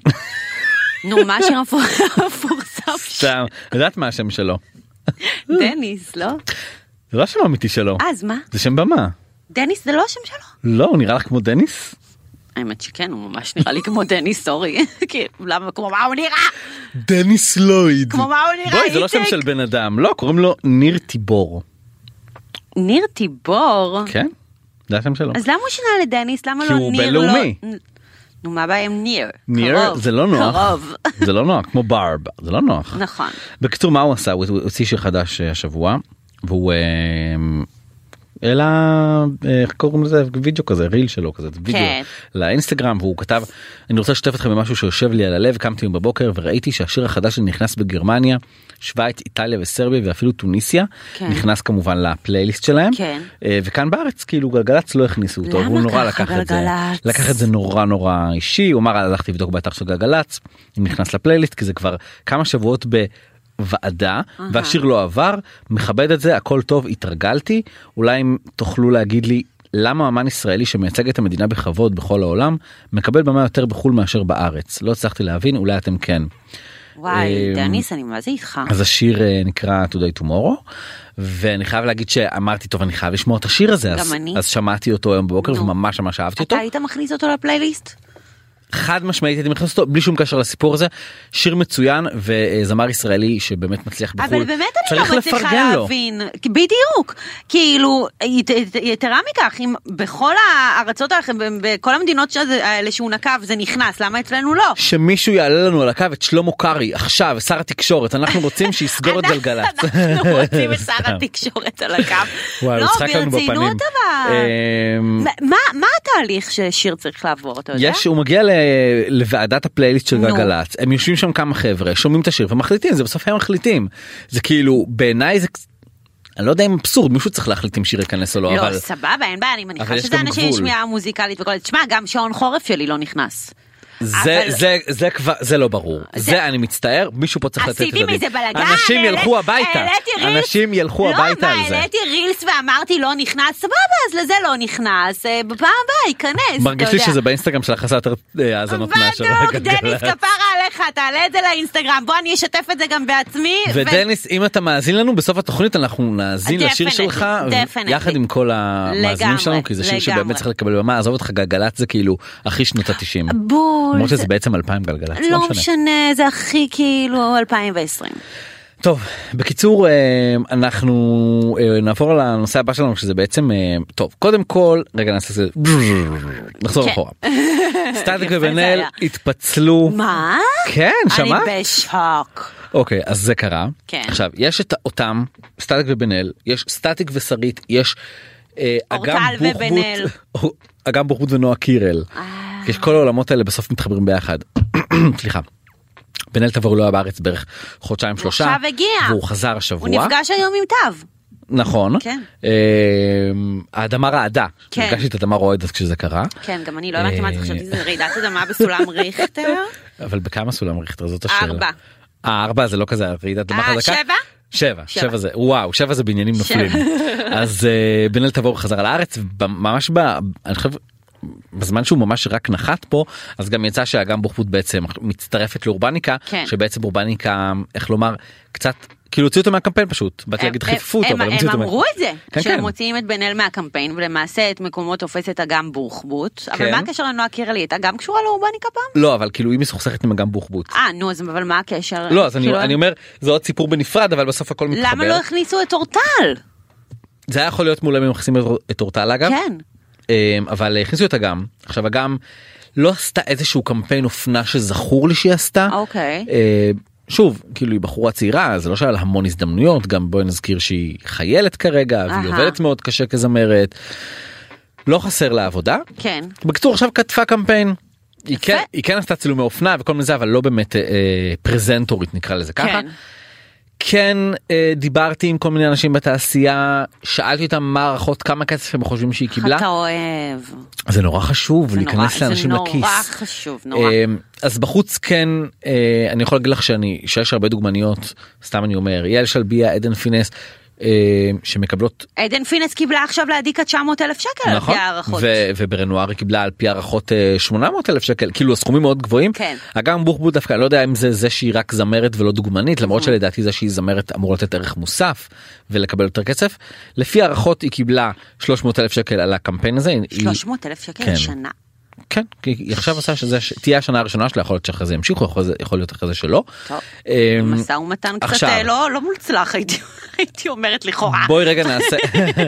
S2: (laughs)
S3: נו, מה השיר המפור- (laughs) המפורסם?
S2: סתם יודעת מה השם שלו
S3: דניס, לא?
S2: זה לא השם האמיתי שלו
S3: אז מה?
S2: זה שם במה
S3: דניס זה לא השם שלו?
S2: לא הוא נראה לך כמו דניס
S3: האמת שכן, הוא ממש נראה לי כמו דניס, סורי. (laughs) כאילו, למה, כמו מה הוא נראה?
S2: דניס לויד.
S3: כמו מה הוא נראה,
S2: בואי, זה לא שם
S3: איציק?
S2: של בן אדם, לא, קוראים לו ניר טיבור.
S3: ניר טיבור.
S2: כן? זה השם שלו.
S3: אז למה הוא שינה לדניס? למה
S2: כי
S3: לא
S2: הוא
S3: ניר?
S2: בינלאומי.
S3: לא- נו, מה הבעיה עם ניר?
S2: ניר
S3: קרוב.
S2: זה לא נוח.
S3: קרוב.
S2: זה לא נוח, כמו ברב, זה לא נוח.
S3: נכון.
S2: בקיצור, מה הוא עשה? הוא הוא הוציא שיר חדש אה, השבוע, והוא... אה, העלה אה, איך קוראים לזה וידאו כזה ריל שלו כזה זה וידאו
S3: כן.
S2: לאינסטגרם והוא כתב אני רוצה לשתף אתכם במשהו שיושב לי על הלב קמתי בבוקר וראיתי שהשיר החדש שנכנס בגרמניה שווייץ איטליה וסרביה ואפילו טוניסיה
S3: כן.
S2: נכנס כמובן לפלייליסט שלהם
S3: כן.
S2: אה, וכאן בארץ כאילו גלגלצ לא הכניסו אותו
S3: למה
S2: והוא נורא
S3: ככה,
S2: לקח את זה
S3: גלגלצ?
S2: לקח את זה נורא נורא אישי הוא אמר הלכתי לבדוק באתר של גלגלצ אם נכנס לפלייליסט כי זה כבר כמה שבועות ב. ועדה והשיר לא עבר מכבד את זה הכל טוב התרגלתי אולי אם תוכלו להגיד לי למה אמן ישראלי שמייצג את המדינה בכבוד בכל העולם מקבל במה יותר בחו"ל מאשר בארץ לא הצלחתי להבין אולי אתם כן.
S3: וואי,
S2: אמ,
S3: דניס, אני מה זה איתך?
S2: אז השיר אה, נקרא Today Tomorrow ואני חייב להגיד שאמרתי טוב אני חייב לשמוע את השיר הזה
S3: גם
S2: אז,
S3: אני.
S2: אז שמעתי אותו היום בבוקר
S3: נו.
S2: וממש ממש אהבתי אותו
S3: אתה היית מכניס אותו לפלייליסט?
S2: חד משמעית הייתי מכניס אותו בלי שום קשר לסיפור הזה שיר מצוין וזמר ישראלי שבאמת מצליח בחו"ל
S3: אבל באמת אני
S2: צריך
S3: לא מצליחה
S2: לפרגן לו.
S3: להבין, כי- בדיוק, כאילו, ית- ית- יתרה מכך, אם בכל הארצות, האח- ב- בכל המדינות שזה- האלה שהוא נקב זה נכנס, למה אצלנו לא?
S2: שמישהו יעלה לנו על הקו את שלמה קרעי עכשיו שר התקשורת אנחנו רוצים שיסגור את
S3: אנחנו-
S2: גלגלצ.
S3: אנחנו רוצים
S2: (laughs)
S3: את שר
S2: סתם.
S3: התקשורת על הקו.
S2: (laughs) וואי,
S3: לא,
S2: הוא צחק לנו בפנים.
S3: ברצינות אבל.
S2: אמ,
S3: מה- מה- מה התהליך ששיר צריך לעבור, אתה יודע?
S2: יש הוא מגיע ל- לוועדת הפלייליסט של
S3: נו.
S2: גלגלצ הם יושבים שם כמה חבר'ה שומעים את השיר ומחליטים זה בסוף הם מחליטים זה כאילו בעיניי זה. קצ- אני לא יודע אם אבסורד מישהו צריך להחליט אם שיר ייכנס או לא
S3: לא,
S2: אבל
S3: סבבה, אין בעיה, אני
S2: אבל
S3: מניחה
S2: יש
S3: שזה
S2: גם
S3: אנשים עם
S2: גבול.
S3: שמיעה מוזיקלית וכל זה. תשמע, גם שעון חורף שלי לא נכנס.
S2: זה
S3: אבל-
S2: זה זה כבר זה לא ברור זה אני מצטער מישהו פה צריך לתת את
S3: עשיתי
S2: הדין.
S3: מזה בלאגן,
S2: אנשים ילכו הביתה
S3: העליתי רילס,
S2: אנשים ילכו הביתה על
S3: לא, מה,
S2: זה.
S3: העליתי רילס ואמרתי לא נכנס, סבבה, אז לזה לא נכנס, אה, בפעם הבאה ייכנס,
S2: מרגיש
S3: אתה
S2: לי
S3: יודע.
S2: שזה באינסטגרם שלך עשה יותר אה, האזנות מאשר
S3: בדוק, דניס
S2: הגלגלצ.
S3: כפרה עליך, תעלה את זה לאינסטגרם, בוא אני אשתף את זה גם בעצמי. ו-
S2: ודניס אם אתה מאזין לנו בסוף התוכנית אנחנו נאזין לשיר
S3: Definitely,
S2: שלך
S3: definitely.
S2: יחד עם כל המאזינים
S3: לגמרי,
S2: שלנו כי זה שיר
S3: לגמרי.
S2: שבאמת צריך לקבל במה עזוב אותך גלגלצ זה כאילו הכי שנות התשעים.
S3: בול,
S2: למרות
S3: זה-
S2: שזה בעצם 2000 גלגלצ
S3: לא משנה, זה הכי כאילו 2020.
S2: טוב בקיצור אה, אנחנו אה, נעבור לנושא הבא שלנו שזה בעצם אה, טוב קודם כל רגע נעשה את זה נחזור
S3: כן. (laughs)
S2: אחורה. סטטיק
S3: יפה זה
S2: ובן-אל
S3: היה.
S2: התפצלו
S3: מה?
S2: כן שמעת?
S3: אני בשוק.
S2: אוקיי אז זה קרה
S3: כן.
S2: עכשיו יש את אותם סטטיק ובן אל יש סטטיק ושרית יש אה,
S3: אורטל אה.
S2: אגם
S3: ובן אל.
S2: בוחבוט אגם בוחבוט ונועה קירל יש כל העולמות האלה בסוף מתחברים ביחד (clears throat) סליחה. בן אל תבור לא היה בארץ בערך חודשיים שלושה
S3: עכשיו הגיע.
S2: והוא חזר
S3: הוא
S2: השבוע
S3: נפגש היום עם תו.
S2: נכון
S3: כן.
S2: אה, האדמה רעדה
S3: כן.
S2: הרגשתי את האדמה רועדת כשזה קרה
S3: כן, גם אני לא הבנתי מה זה,
S2: אה,
S3: חשבתי שזה רעידת אדמה בסולם ריכטר.
S2: אבל בכמה סולם ריכטר זאת השאלה.
S3: ארבע.
S2: אה, ארבע זה לא כזה רעידת אדמה
S3: אה,
S2: חזקה.
S3: שבע?
S2: שבע,
S3: שבע.
S2: שבע זה וואו שבע זה בניינים
S3: שבע. (laughs)
S2: נופלים אז אה, בן אל תבור חזר לארץ ב- ממש ב... אני חושב. בזמן שהוא ממש רק נחת פה אז גם יצא שאגם בוחבוט בעצם מצטרפת לאורבניקה
S3: כן.
S2: שבעצם אורבניקה איך לומר קצת כאילו הוציאו אותו מהקמפיין פשוט באתי
S3: הם-
S2: להגיד
S3: הם-
S2: חיפפו אותו
S3: הם-
S2: אבל הם הוציאו
S3: הם
S2: אותו
S3: אמרו
S2: מה-
S3: את זה,
S2: כן,
S3: שהם
S2: כן.
S3: מוציאים את בן אל מהקמפיין ולמעשה את מקומו תופסת אגם בוחבוט. אבל
S2: כן.
S3: מה הקשר לנועה קירל? היא הייתה גם קשורה לאורבניקה פעם?
S2: לא אבל כאילו היא מסוכסכת עם אגם בוחבוט
S3: אה נו אז אבל מה הקשר?
S2: לא אז אני
S3: כאילו,
S2: אני אומר זה עוד סיפור בנפרד אבל בסוף הכל
S3: למה
S2: מתחבר
S3: לא הכניסו את אורטל?
S2: זה היה יכול להיות מעולה אם מכניסים את אור- את אורטל אגב.
S3: כן.
S2: אמ, אבל הכניסו את אגם עכשיו אגם לא עשתה איזשהו קמפיין אופנה שזכור לי שהיא עשתה.
S3: אוקיי.
S2: אמ, שוב כאילו היא בחורה צעירה זה לא שהיה לה המון הזדמנויות גם בואי נזכיר שהיא חיילת כרגע והיא
S3: אהה.
S2: עובדת מאוד קשה כזמרת. לא חסר לה עבודה.
S3: כן.
S2: בקיצור עכשיו כתבה קמפיין. היא
S3: יפה.
S2: כן, היא כן עשתה צילומי אופנה וכל מיני זה אבל לא באמת אה, אה, פרזנטורית נקרא לזה ככה.
S3: כן.
S2: כן אה, דיברתי עם כל מיני אנשים בתעשייה שאלתי אותם מה הערכות כמה כסף הם חושבים שהיא קיבלה
S3: אתה אוהב.
S2: זה נורא חשוב
S3: זה נורא-
S2: להיכנס לאנשים
S3: זה
S2: לכיס.
S3: נורא חשוב, נורא.
S2: אה, אז בחוץ כן אה, אני יכול להגיד לך שאני שיש הרבה דוגמניות סתם אני אומר יעל שלביה עדן פינס אה, שמקבלות
S3: עדן פינס קיבלה עכשיו להדיקה 900 אלף שקל על פי
S2: נכון
S3: הערכות.
S2: ו- וברנואר היא קיבלה על פי הערכות אה, 800 אלף שקל כאילו הסכומים מאוד גבוהים
S3: כן.
S2: אגם בוחבוט דווקא אני לא יודע אם זה זה שהיא רק זמרת ולא דוגמנית למרות
S3: אוקיי.
S2: שלדעתי זה שהיא זמרת אמור לתת ערך מוסף ולקבל יותר כסף לפי הערכות היא קיבלה 300 אלף שקל על הקמפיין הזה. היא-
S3: 300 אלף שקל
S2: כן.
S3: לשנה.
S2: כן, כי היא עכשיו עושה שזה ש- תהיה השנה הראשונה שלה, יכול להיות שאחרי זה ימשיכו, יכול להיות- יכול להיות אחרי זה שלא.
S3: טוב.
S2: אמ,
S3: משא ומתן קצת
S2: עכשיו.
S3: אה, לא לא מוצלח הייתי- (laughs) הייתי אומרת לכאורה.
S2: בואי רגע נעשה, (laughs)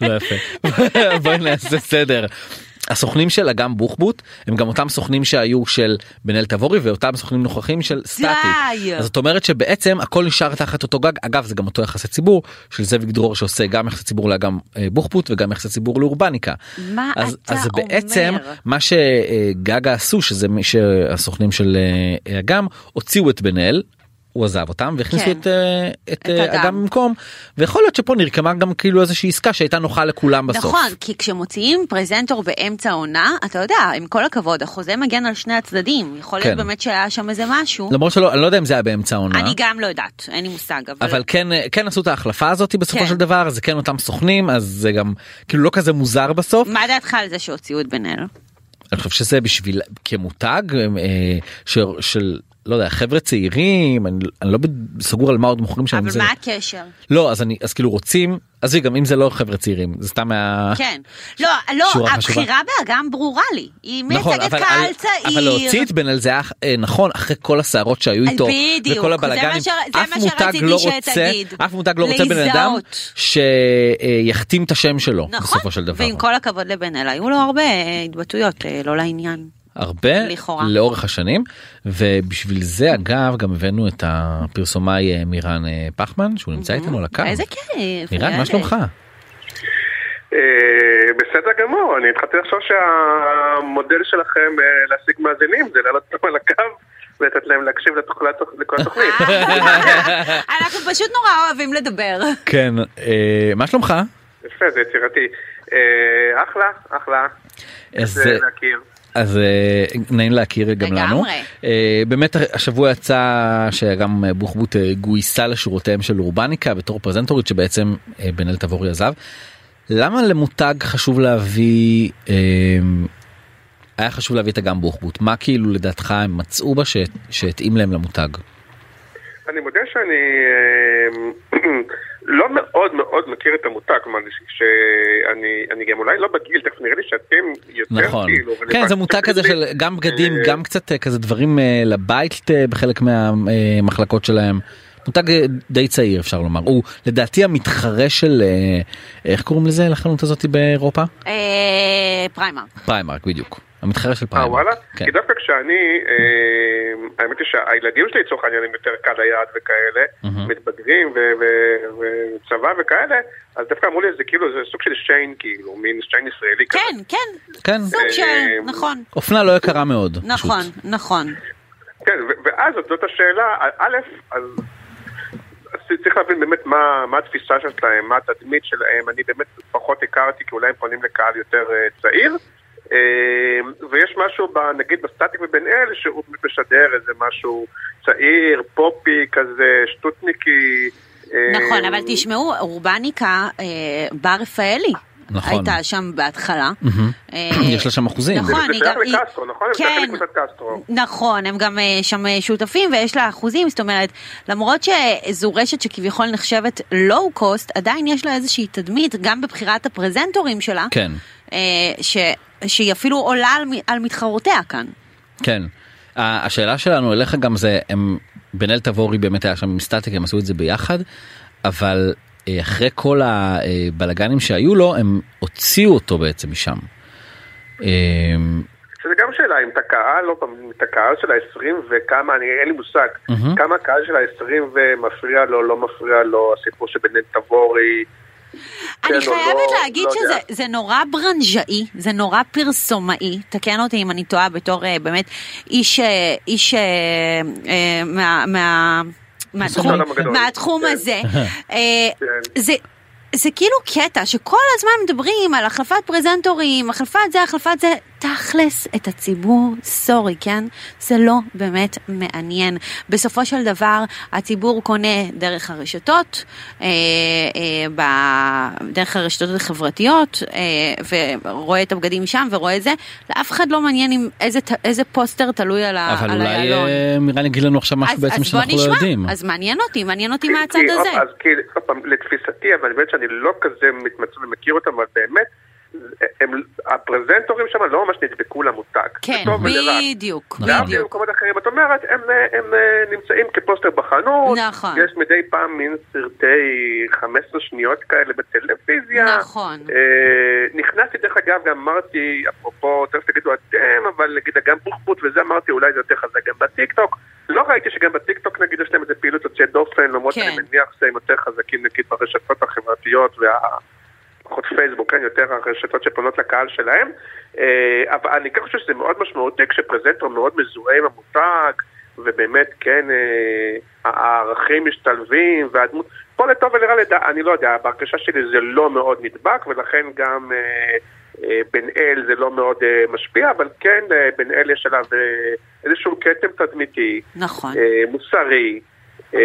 S2: לא יפה, (laughs) בואי נעשה סדר. הסוכנים של אגם בוחבוט הם גם אותם סוכנים שהיו של בן אל תבורי ואותם סוכנים נוכחים של סטטיק.
S3: די.
S2: אז זאת אומרת שבעצם הכל נשאר תחת אותו גג אגב זה גם אותו יחסי ציבור של זאביק דרור שעושה גם יחסי ציבור לאגם אה, בוחבוט וגם יחסי ציבור לאורבניקה.
S3: מה
S2: אז,
S3: אתה
S2: אז זה בעצם
S3: אומר?
S2: מה שגגה עשו שזה מי שהסוכנים של אה, אגם הוציאו את בן אל. הוא הוא עזב אותם והכניסו
S3: כן.
S2: את, אה, את
S3: את
S2: אה,
S3: אדם.
S2: אדם במקום ויכול להיות שפה נרקמה גם כאילו איזושהי עסקה שהייתה נוחה לכולם בסוף.
S3: נכון, כי כשמוציאים פרזנטור באמצע העונה, אתה יודע, עם כל הכבוד, החוזה מגן על שני הצדדים. יכול להיות
S2: כן.
S3: באמת שהיה שם איזה משהו.
S2: למרות שלא אני לא יודע אם זה היה באמצע העונה.
S3: אני גם לא יודעת, אין לי מושג, אבל
S2: אבל כן אה, כן עשו את ההחלפה הזאת בסופו
S3: כן.
S2: של דבר זה כן אותם סוכנים אז זה גם כאילו לא כזה מוזר בסוף.
S3: מה דעתך על זה שהוציאו את בן אל?
S2: אני חושב שזה בשביל כמותג אה, ש- של לא יודע חבר'ה צעירים אני, אני לא בד- סגור על מה עוד מוכרים שם.
S3: אבל
S2: זה...
S3: מה הקשר?
S2: לא אז אני אז כאילו רוצים אז גם אם זה לא חבר'ה צעירים זה סתם היה...
S3: כן. לא, לא,
S2: אה. שורה
S3: הבחירה באגם ברורה לי. היא מייצגת
S2: נכון, אבל-
S3: קהל
S2: אבל להוציא
S3: צעיר.
S2: את בן אל זה היה אה, נכון אחרי כל הסערות שהיו
S3: אז
S2: איתו
S3: בדיוק,
S2: וכל
S3: זה
S2: הבלאגנים
S3: מה ש- זה
S2: אף
S3: מה
S2: מותג
S3: שרציתי
S2: לא רוצה
S3: שתגיד.
S2: אף מותג לא רוצה בן אדם
S3: להזדהות.
S2: שיחתים את השם שלו
S3: נכון,
S2: בסופו של דבר
S3: ועם כל הכבוד לבן אל, היו לו הרבה אה, התבטאויות אה, לא לעניין.
S2: הרבה
S3: לכאורה.
S2: לאורך השנים ובשביל זה אגב גם הבאנו את הפרסומאי אה, מירן אה, פחמן שהוא נמצא איתנו על הקו.
S3: אה, איזה כיף.
S2: מירן מה
S3: ילד.
S2: שלומך?
S5: אה, בסדר גמור, אני התחלתי לחשוב שהמודל שלכם אה, להשיג מאזינים זה לעלות (laughs) אותם על הקו ולתת להם להקשיב לתוכל- לכל
S2: (laughs)
S5: התוכנית.
S3: (laughs) אנחנו פשוט נורא אוהבים לדבר.
S2: כן אה, מה שלומך?
S5: יפה, זה יצירתי. אה, אחלה, אחלה.
S2: אז,
S5: זה
S2: אה,
S5: להכיר.
S2: אז אה, נעים להכיר גם
S3: לגמרי.
S2: לנו. אה, באמת השבוע יצא שגם אה, בוחבוט אה, גויסה לשורותיהם של אורבניקה בתור פרזנטורית שבעצם אה, בן אל תבורי עזב. למה למותג חשוב להביא אה, היה חשוב להביא את אגם בוחבוט מה כאילו לדעתך הם מצאו בה ש- שהתאים להם למותג.
S5: אני מודה שאני אה, (clears throat) לא מאוד מאוד מכיר את המותג, כלומר, ש- שאני אני גם אולי לא בגיל, תכף נראה לי שאתם יותר
S2: נכון
S5: כאילו.
S2: כן זה
S5: רלוונטיים
S2: מותג כזה
S5: לי.
S2: של גם בגדים
S5: אה,
S2: גם קצת אה, כזה דברים אה, לבית אה, בחלק מהמחלקות שלהם. מותג אה, די צעיר אפשר לומר הוא לדעתי המתחרה של אה, איך קוראים לזה לחנות הזאת באירופה
S3: אה, פריימרק.
S2: פריימרק בדיוק המתחרה של
S5: אה וואלה?
S2: פריימרק. כן.
S5: כי דווקא כשאני, אה, האמת היא שהילדים שלי לצורך העניין הם יותר קל היעד וכאלה, מתבגרים ו- ו- וצבא וכאלה, אז דווקא אמרו לי זה כאילו זה סוג של שיין כאילו, מין שיין ישראלי כזה.
S3: כן, כן,
S2: כן
S3: סוג של,
S5: אה,
S3: נכון,
S2: אופנה לא יקרה מאוד.
S3: נכון,
S2: פשוט.
S3: נכון.
S5: כן, ו- ואז זאת- זאת השאלה, א- א', אז... אז צריך להבין באמת מה, מה התפיסה שלהם, מה התדמית שלהם, אני באמת פחות הכרתי כי אולי הם פונים לקהל יותר אה, צעיר אה, ויש משהו ב, נגיד בסטטיק בבן אל שהוא משדר איזה משהו צעיר, פופי כזה, שטוטניקי אה,
S3: נכון, אבל תשמעו, אורבניקה, אה, בר רפאלי.
S2: נכון.
S3: הייתה שם בהתחלה. אה,
S2: (clears throat) (clears throat) יש לה שם אחוזים.
S3: נכון,
S5: זה
S3: היא
S5: שייך
S3: גם... היא-
S5: לקסטרו, נכון? זה שייך
S3: כן.
S5: לקבוצת קסטרו.
S3: נכון, הם גם אה, שם אה, שותפים ויש לה אחוזים, זאת אומרת, למרות שזו רשת שכביכול נחשבת לואו קוסט, עדיין יש לה איזושהי תדמית, גם בבחירת הפרזנטורים שלה,
S2: כן.
S3: אה, ש... שהיא אפילו עולה על, מ- על מתחרותיה כאן.
S2: כן. ה- השאלה שלנו אליך גם זה הם בן אל תבורי באמת היה שם עם סטטיק הם עשו את זה ביחד אבל אה, אחרי כל הבלגנים שהיו לו הם הוציאו אותו בעצם משם. אה,
S5: שזה גם שאלה, אם את הקהל, לא פעם, את הקהל של ה-20 וכמה, אני, אין לי מושג,
S2: מהמם.
S5: כמה הקהל של ה-20 ומפריע לו, לא מפריע לו, הסיפור של בן תבורי. כן
S3: אני
S5: או
S3: חייבת
S5: לא,
S3: להגיד
S5: לא יודע.
S3: שזה זה נורא ברנז'אי, זה נורא פרסומאי, תקן אותי אם אני טועה בתור אה, באמת איש, אה, איש אה, אה, מה... מה... מהתחום,
S5: העולם הגדול.
S3: מהתחום
S5: כן.
S3: הזה. אה,
S5: כן.
S3: זה... זה כאילו קטע שכל הזמן מדברים על החלפת פרזנטורים, החלפת זה, החלפת זה, תכלס את הציבור, סורי, כן? זה לא באמת מעניין. בסופו של דבר, הציבור קונה דרך הרשתות, אה, אה, ב- דרך הרשתות החברתיות, אה, ורואה את הבגדים שם ורואה את זה, לאף אחד לא מעניין עם איזה, ת- איזה פוסטר תלוי על ה-
S2: אבל
S3: על
S2: אולי
S3: היעלון.
S2: אה, מירן יגיד לנו עכשיו משהו
S3: אז-
S2: בעצם
S3: אז בוא
S2: שאנחנו לא
S3: נשמע.
S2: יודעים.
S3: אז מעניין אותי, מעניין אותי
S5: כי-
S3: מהצד
S5: כי-
S3: הזה.
S5: עוד- אז כאילו, עוד פעם, לתפיסתי, אבל באמת שאני לא כזה מתמצא ומכיר אותם, אבל באמת, הם, הפרזנטורים שם לא ממש נדבקו למותג.
S3: כן,
S5: לטוב ולרע.
S3: בדיוק,
S5: להבדיל
S3: בדיוק.
S5: במקומות אחרים, את אומרת, הם, אה, הם אה, נמצאים כפוסטר בחנות,
S3: נכון.
S5: יש מדי פעם מין סרטי 15 שניות כאלה בטלוויזיה.
S3: נכון.
S5: אה, נכנסתי דרך אגב, גם אמרתי, אפרופו, תכף תגידו אתם, אבל נגיד גם בוחבוט וזה, אמרתי אולי זה יותר חזק גם בטיקטוק. לא ראיתי שגם בטיקטוק נגיד יש להם איזה פעילות יוצאת דופן, לא למרות
S3: כן.
S5: שאני מניח שהם יותר חזקים נגיד ברשתות החברתיות וה... פחות פייסבוק, כן, יותר הרשתות שפונות לקהל שלהם. אה, אבל אני כן חושב שזה מאוד משמעותי כשפרזנטור מאוד מזוהה עם המותג, ובאמת, כן, אה, הערכים משתלבים, והדמות, פה לטוב ולרע לדע, אני לא יודע, בהרגשה שלי זה לא מאוד נדבק, ולכן גם אה, אה, בן אל זה לא מאוד אה, משפיע, אבל כן, אה, בן אל יש עליו אה, איזשהו כתם תדמיתי,
S3: נכון.
S5: אה, מוסרי. אה,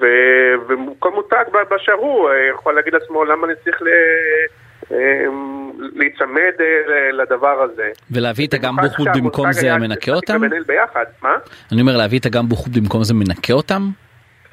S5: ו- וכל מותג ב- באשר הוא אה, יכול להגיד לעצמו למה אני צריך ל- אה, להיצמד אה, ל- לדבר הזה.
S2: ולהביא את הגם
S5: במיוחד
S2: בוכבוט
S5: שהמותג
S2: במקום זה
S5: היה
S2: מנקה
S5: שפטיק
S2: אותם?
S5: ובן אל ביחד, מה?
S2: אני אומר להביא את הגם בוכבוט במקום זה מנקה אותם?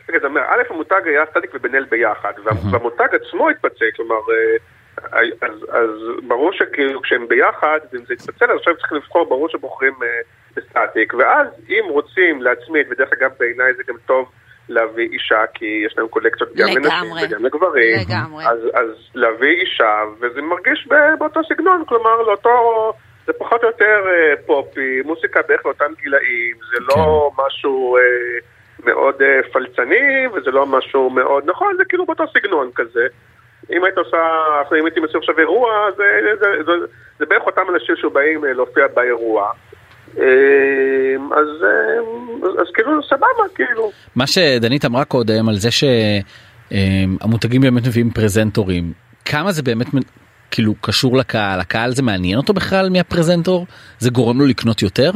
S5: רגע, אתה אומר, א', המותג היה סטטיק ובן אל ביחד, וה- והמותג עצמו התפצל, כלומר, אה, אז, אז ברור שכאילו כשהם ביחד, אם זה התפצל, אז עכשיו צריך לבחור, ברור שבוחרים אה, בסטטיק, ואז אם רוצים להצמיד, ודרך אגב בעיניי זה גם טוב להביא אישה, כי יש להם קולקציות גם לנשים
S3: לגמרי.
S5: וגם לגברים,
S3: לגמרי.
S5: אז, אז להביא אישה, וזה מרגיש ב- באותו סגנון, כלומר, לאותו... זה פחות או יותר אה, פופי, מוסיקה בערך לאותם גילאים, זה לא משהו אה, מאוד אה, פלצני, וזה לא משהו מאוד נכון, זה כאילו באותו סגנון כזה. אם היית עושה, אם הייתי מוציא עכשיו אירוע, זה, זה, זה, זה, זה בערך אותם אנשים שבאים אה, להופיע באירוע. אה, אז, אה, אז, אז כאילו סבבה, כאילו.
S2: מה שדנית אמרה קודם על זה שהמותגים באמת מביאים פרזנטורים כמה זה באמת מ- כאילו קשור לקהל הקהל זה מעניין אותו בכלל מי הפרזנטור זה גורם לו לקנות יותר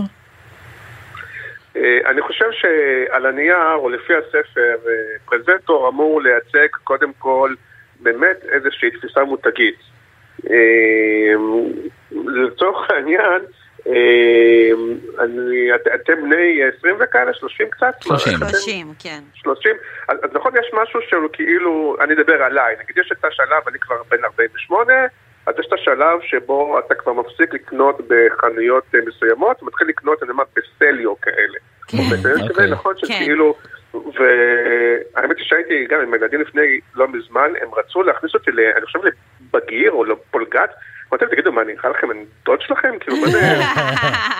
S5: אה, אני חושב שעל הנייר, או לפי הספר, אה, פרזנטור אמור לייצג קודם כל באמת איזושהי תפיסה מותגית. אה, לצורך העניין, אה, אני, את- אתם בני 20 וכאלה, 30 קצת?
S2: שלושים.
S5: מה, אתם-
S3: 30, כן.
S5: 30, אז, אז נכון יש משהו שהוא כאילו, אני אדבר עליי, נגיד יש את השלב, אני כבר בן 48, אז יש את השלב שבו אתה כבר מפסיק לקנות בחנויות אה, מסוימות, מתחיל לקנות, אני אומר, בסליו כאלה.
S3: כן.
S5: בסליו
S2: אוקיי.
S5: כזה, נכון
S3: כן.
S5: שכאילו, והאמת היא שהייתי גם עם הילדים לפני לא מזמן, הם רצו להכניס אותי, ל, אני חושב לבגיר או לפולגת, אמרתי להם, תגידו, מה, אני אקרא לכם, אני דוד שלכם? כאילו, מה זה...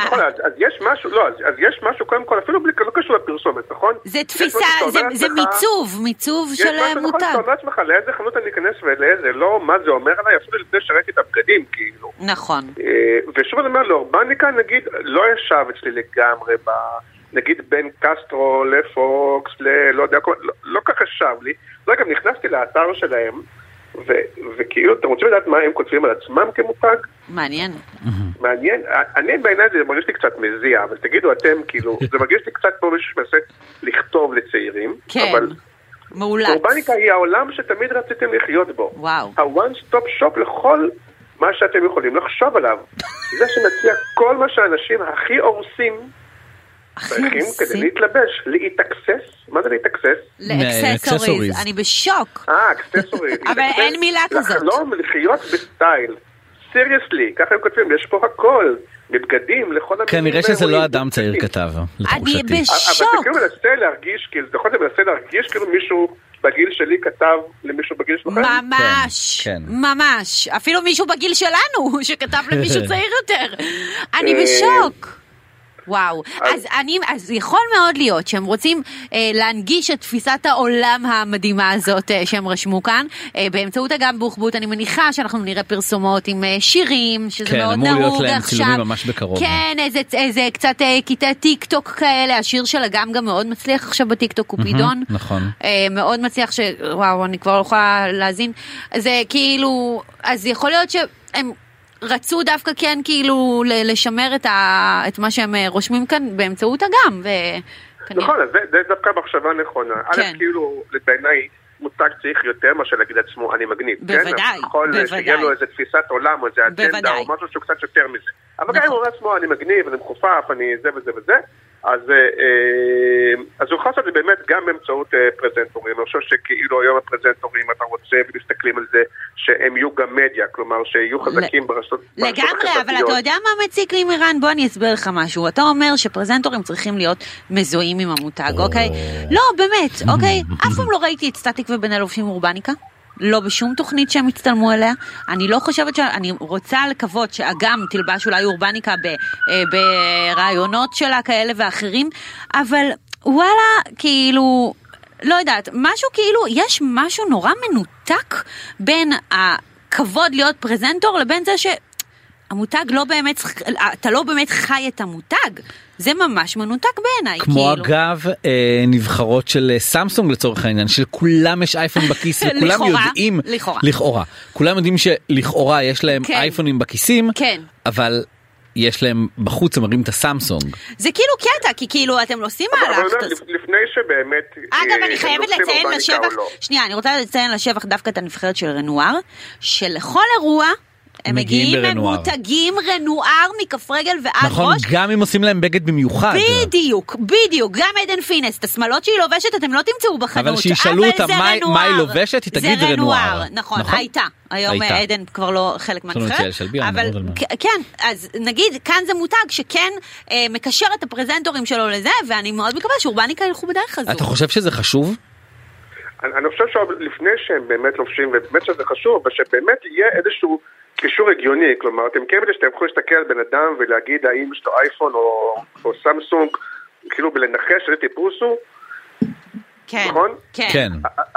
S5: נכון, אז, אז יש משהו, לא, אז, אז יש משהו, קודם כל, אפילו בלי, לא קשור לפרסומת, נכון?
S3: זה
S5: יש
S3: תפיסה,
S5: משהו שאתה
S3: זה-
S5: אומר
S3: זה
S5: לעצמך-
S3: מיצוב, מיצוב
S5: יש
S3: של
S5: משהו, נכון,
S3: מותג.
S5: שאתה אומר לעצמך לאיזה חנות אני אכנס ולאיזה לא, מה זה אומר עליי, אפילו לפני שראיתי את הבגדים, כאילו.
S3: נכון.
S5: אה, ושוב אני אומר, לאורבניקה נגיד לא ישב אצלי לגמרי ב... נגיד בין קסטרו לפוקס, ל... לא יודע, כל... לא, לא כך ישב לי. לא, גם נכנסתי לאתר שלהם, ו... וכאילו, אתם רוצים לדעת מה הם כותבים על עצמם כמותג?
S3: מעניין.
S5: מעניין, אני בעיניי זה מרגיש לי קצת מזיע, אבל תגידו אתם,
S3: (laughs)
S5: כאילו, זה מרגיש לי קצת כמו מישהו שמנסה לכתוב לצעירים,
S3: כן.
S5: אבל
S3: מאולץ.
S5: אורבניקה היא העולם שתמיד רציתם לחיות בו.
S3: וואו.
S5: ה-one stop shop לכל מה שאתם יכולים לחשוב
S3: (laughs)
S5: עליו. זה שמציע כל מה שהאנשים הכי הורסים
S3: הכי
S5: צריכים כדי
S3: רוסי.
S5: להתלבש, להתאקסס. מה זה להתאקסס?
S3: לאקססוריז.
S2: לאקססוריז.
S3: אני בשוק.
S5: אה, אקססוריז.
S3: (laughs) אבל
S5: להתאקסס,
S3: אין מילה כזאת.
S5: לחלום לחיות בסטייל. סיריוסלי, ככה הם כותבים, יש פה הכל, מבגדים לכל המינים
S2: כנראה שזה
S5: והאירועים.
S2: לא אדם צעיר
S5: (laughs)
S2: כתב
S3: אני
S2: לתחושתי.
S5: אבל אתה
S3: בשוק.
S5: כאילו מנסה להרגיש, כאילו, נכון, אתה מנסה להרגיש כאילו מישהו בגיל שלי כתב למישהו בגיל שלכם?
S3: ממש,
S2: כן, כן.
S3: ממש. אפילו מישהו בגיל שלנו, (laughs) שכתב
S2: (laughs)
S3: למישהו צעיר יותר. אני
S5: אה,
S3: בשוק. וואו,
S5: אז-
S3: אז, אני, אז יכול מאוד להיות שהם רוצים אה, להנגיש את תפיסת העולם המדהימה הזאת אה, שהם רשמו כאן. אה, באמצעות אגם בוחבוט, אני מניחה שאנחנו נראה פרסומות עם אה, שירים, שזה
S2: כן,
S3: מאוד
S2: אמור להיות
S3: נהוג
S2: להם
S3: עכשיו.
S2: צילומים ממש בקרוב.
S3: כן, איזה, איזה קצת אה, קטעי טיק טוק כאלה, השיר של אגם גם מאוד מצליח עכשיו בטיק טוק, קופידון.
S2: נכון.
S3: אה, מאוד מצליח ש... וואו, אני כבר לא יכולה להאזין. זה כאילו... אז יכול להיות שהם רצו דווקא כן כאילו ל- לשמר את, ה... את מה שהם אה, רושמים כאן באמצעות אגם. ו... כנראה-
S5: נכון, אז זה, זה דווקא מחשבה נכונה.
S3: כן.
S5: א', כאילו, בעיניי, מותג צריך יותר מאשר להגיד לעצמו, אני מגניב.
S3: בוודאי,
S5: כן? נכון,
S3: בוודאי.
S5: שיהיה לו איזו תפיסת עולם או איזו אג'נדה
S3: בוודאי.
S5: או משהו שהוא קצת יותר מזה. אבל גם אם
S3: נכון.
S5: הוא אומר לעצמו, אני מגניב, אני מכופף, אני זה וזה וזה, אז, אה, אה, אז הוא יכול לעשות את זה באמת גם באמצעות אה, פרזנטורים. אני חושב שכאילו היום הפרזנטורים, אתה רוצה, ומסתכלים על זה, שהם יהיו גם מדיה, כלומר, שיהיו חזקים ברשתות ברשתות
S3: לגמרי, אבל
S5: החברתיות.
S3: אתה יודע מה מציק לי מירן? בוא אני אסביר לך משהו. אתה אומר שפרזנטורים צריכים להיות מזוהים עם המותג, אוקיי? לא, באמת, אוקיי? אף פעם לא ראיתי את סטטיק ובן אלופים אורבניקה. לא בשום תוכנית שהם הצטלמו אליה. אני לא חושבת ש... אני רוצה לקוות שאגם תלבש אולי אורבניקה ב- אה, ברעיונות שלה כאלה ואחרים, אבל וואלה, כאילו... לא יודעת, משהו כאילו, יש משהו נורא מנותק בין הכבוד להיות פרזנטור לבין זה ש... המותג לא באמת, אתה לא באמת חי את המותג, זה ממש מנותק בעיניי.
S2: כמו
S3: כאילו.
S2: אגב אה, נבחרות של אה, סמסונג לצורך העניין שלכולם יש אייפון בכיס וכולם
S3: לכאורה,
S2: יודעים
S3: לכאורה.
S2: לכאורה כולם יודעים שלכאורה יש להם
S3: כן.
S2: אייפונים בכיסים
S3: כן.
S2: אבל יש להם בחוץ הם מראים את הסמסונג
S3: זה כאילו קטע, כי כאילו אתם לא עושים
S5: אבל
S3: מהלך
S5: אני אומר,
S3: כזה.
S5: לפ- לפני שבאמת...
S3: אגב,
S5: אה,
S3: אני חייבת לציין
S5: לוקחים אורבניקה
S3: לשבח,
S5: או לא.
S3: שנייה, אני רוצה לציין לשבח דווקא את הנבחרת של רנואר, שלכל אירוע הם
S2: מגיעים
S3: מגיעים, הם
S2: ברנואר.
S3: מותגים רנואר מכף רגל ועד
S2: נכון
S3: ראש.
S2: גם אם עושים להם בגד במיוחד
S3: בדיוק, בדיוק, גם עדן פינס, את השמלות שהיא לובשת אתם לא תמצאו בחנות,
S2: אבל שישאלו
S3: אבל
S2: אותה
S3: זה
S2: מה-
S3: רנואר.
S2: מה היא לובשת, היא תגיד
S3: זה
S2: רנואר.
S3: רנואר. נכון,
S2: נכון?
S3: הייתה, היום
S2: הייתה.
S3: עדן כבר לא חלק
S2: לנו את יעל
S3: מהנבחרת,
S2: שלבי, אנה
S3: אבל
S2: רודלמן.
S3: כ- כן, אז נגיד כאן זה מותג שכן אה, מקשר את הפרזנטורים שלו לזה, ואני מאוד מקווה שאורבניקה ילכו בדרך הזו.
S2: אתה חושב שזה חשוב
S5: אני אני חושב שלפני שהם באמת לובשים, ובאמת שזה חשוב, אבל שבאמת יהיה איזשהו קישור הגיוני, כלומר, אתם כן יודעים שאתם יכולים להסתכל על בן אדם ולהגיד האם יש לו אייפון או, או סמסונג, כאילו בלנחש איזה טיפוס הוא,
S3: כן,
S5: נכון?
S3: כן.
S2: כן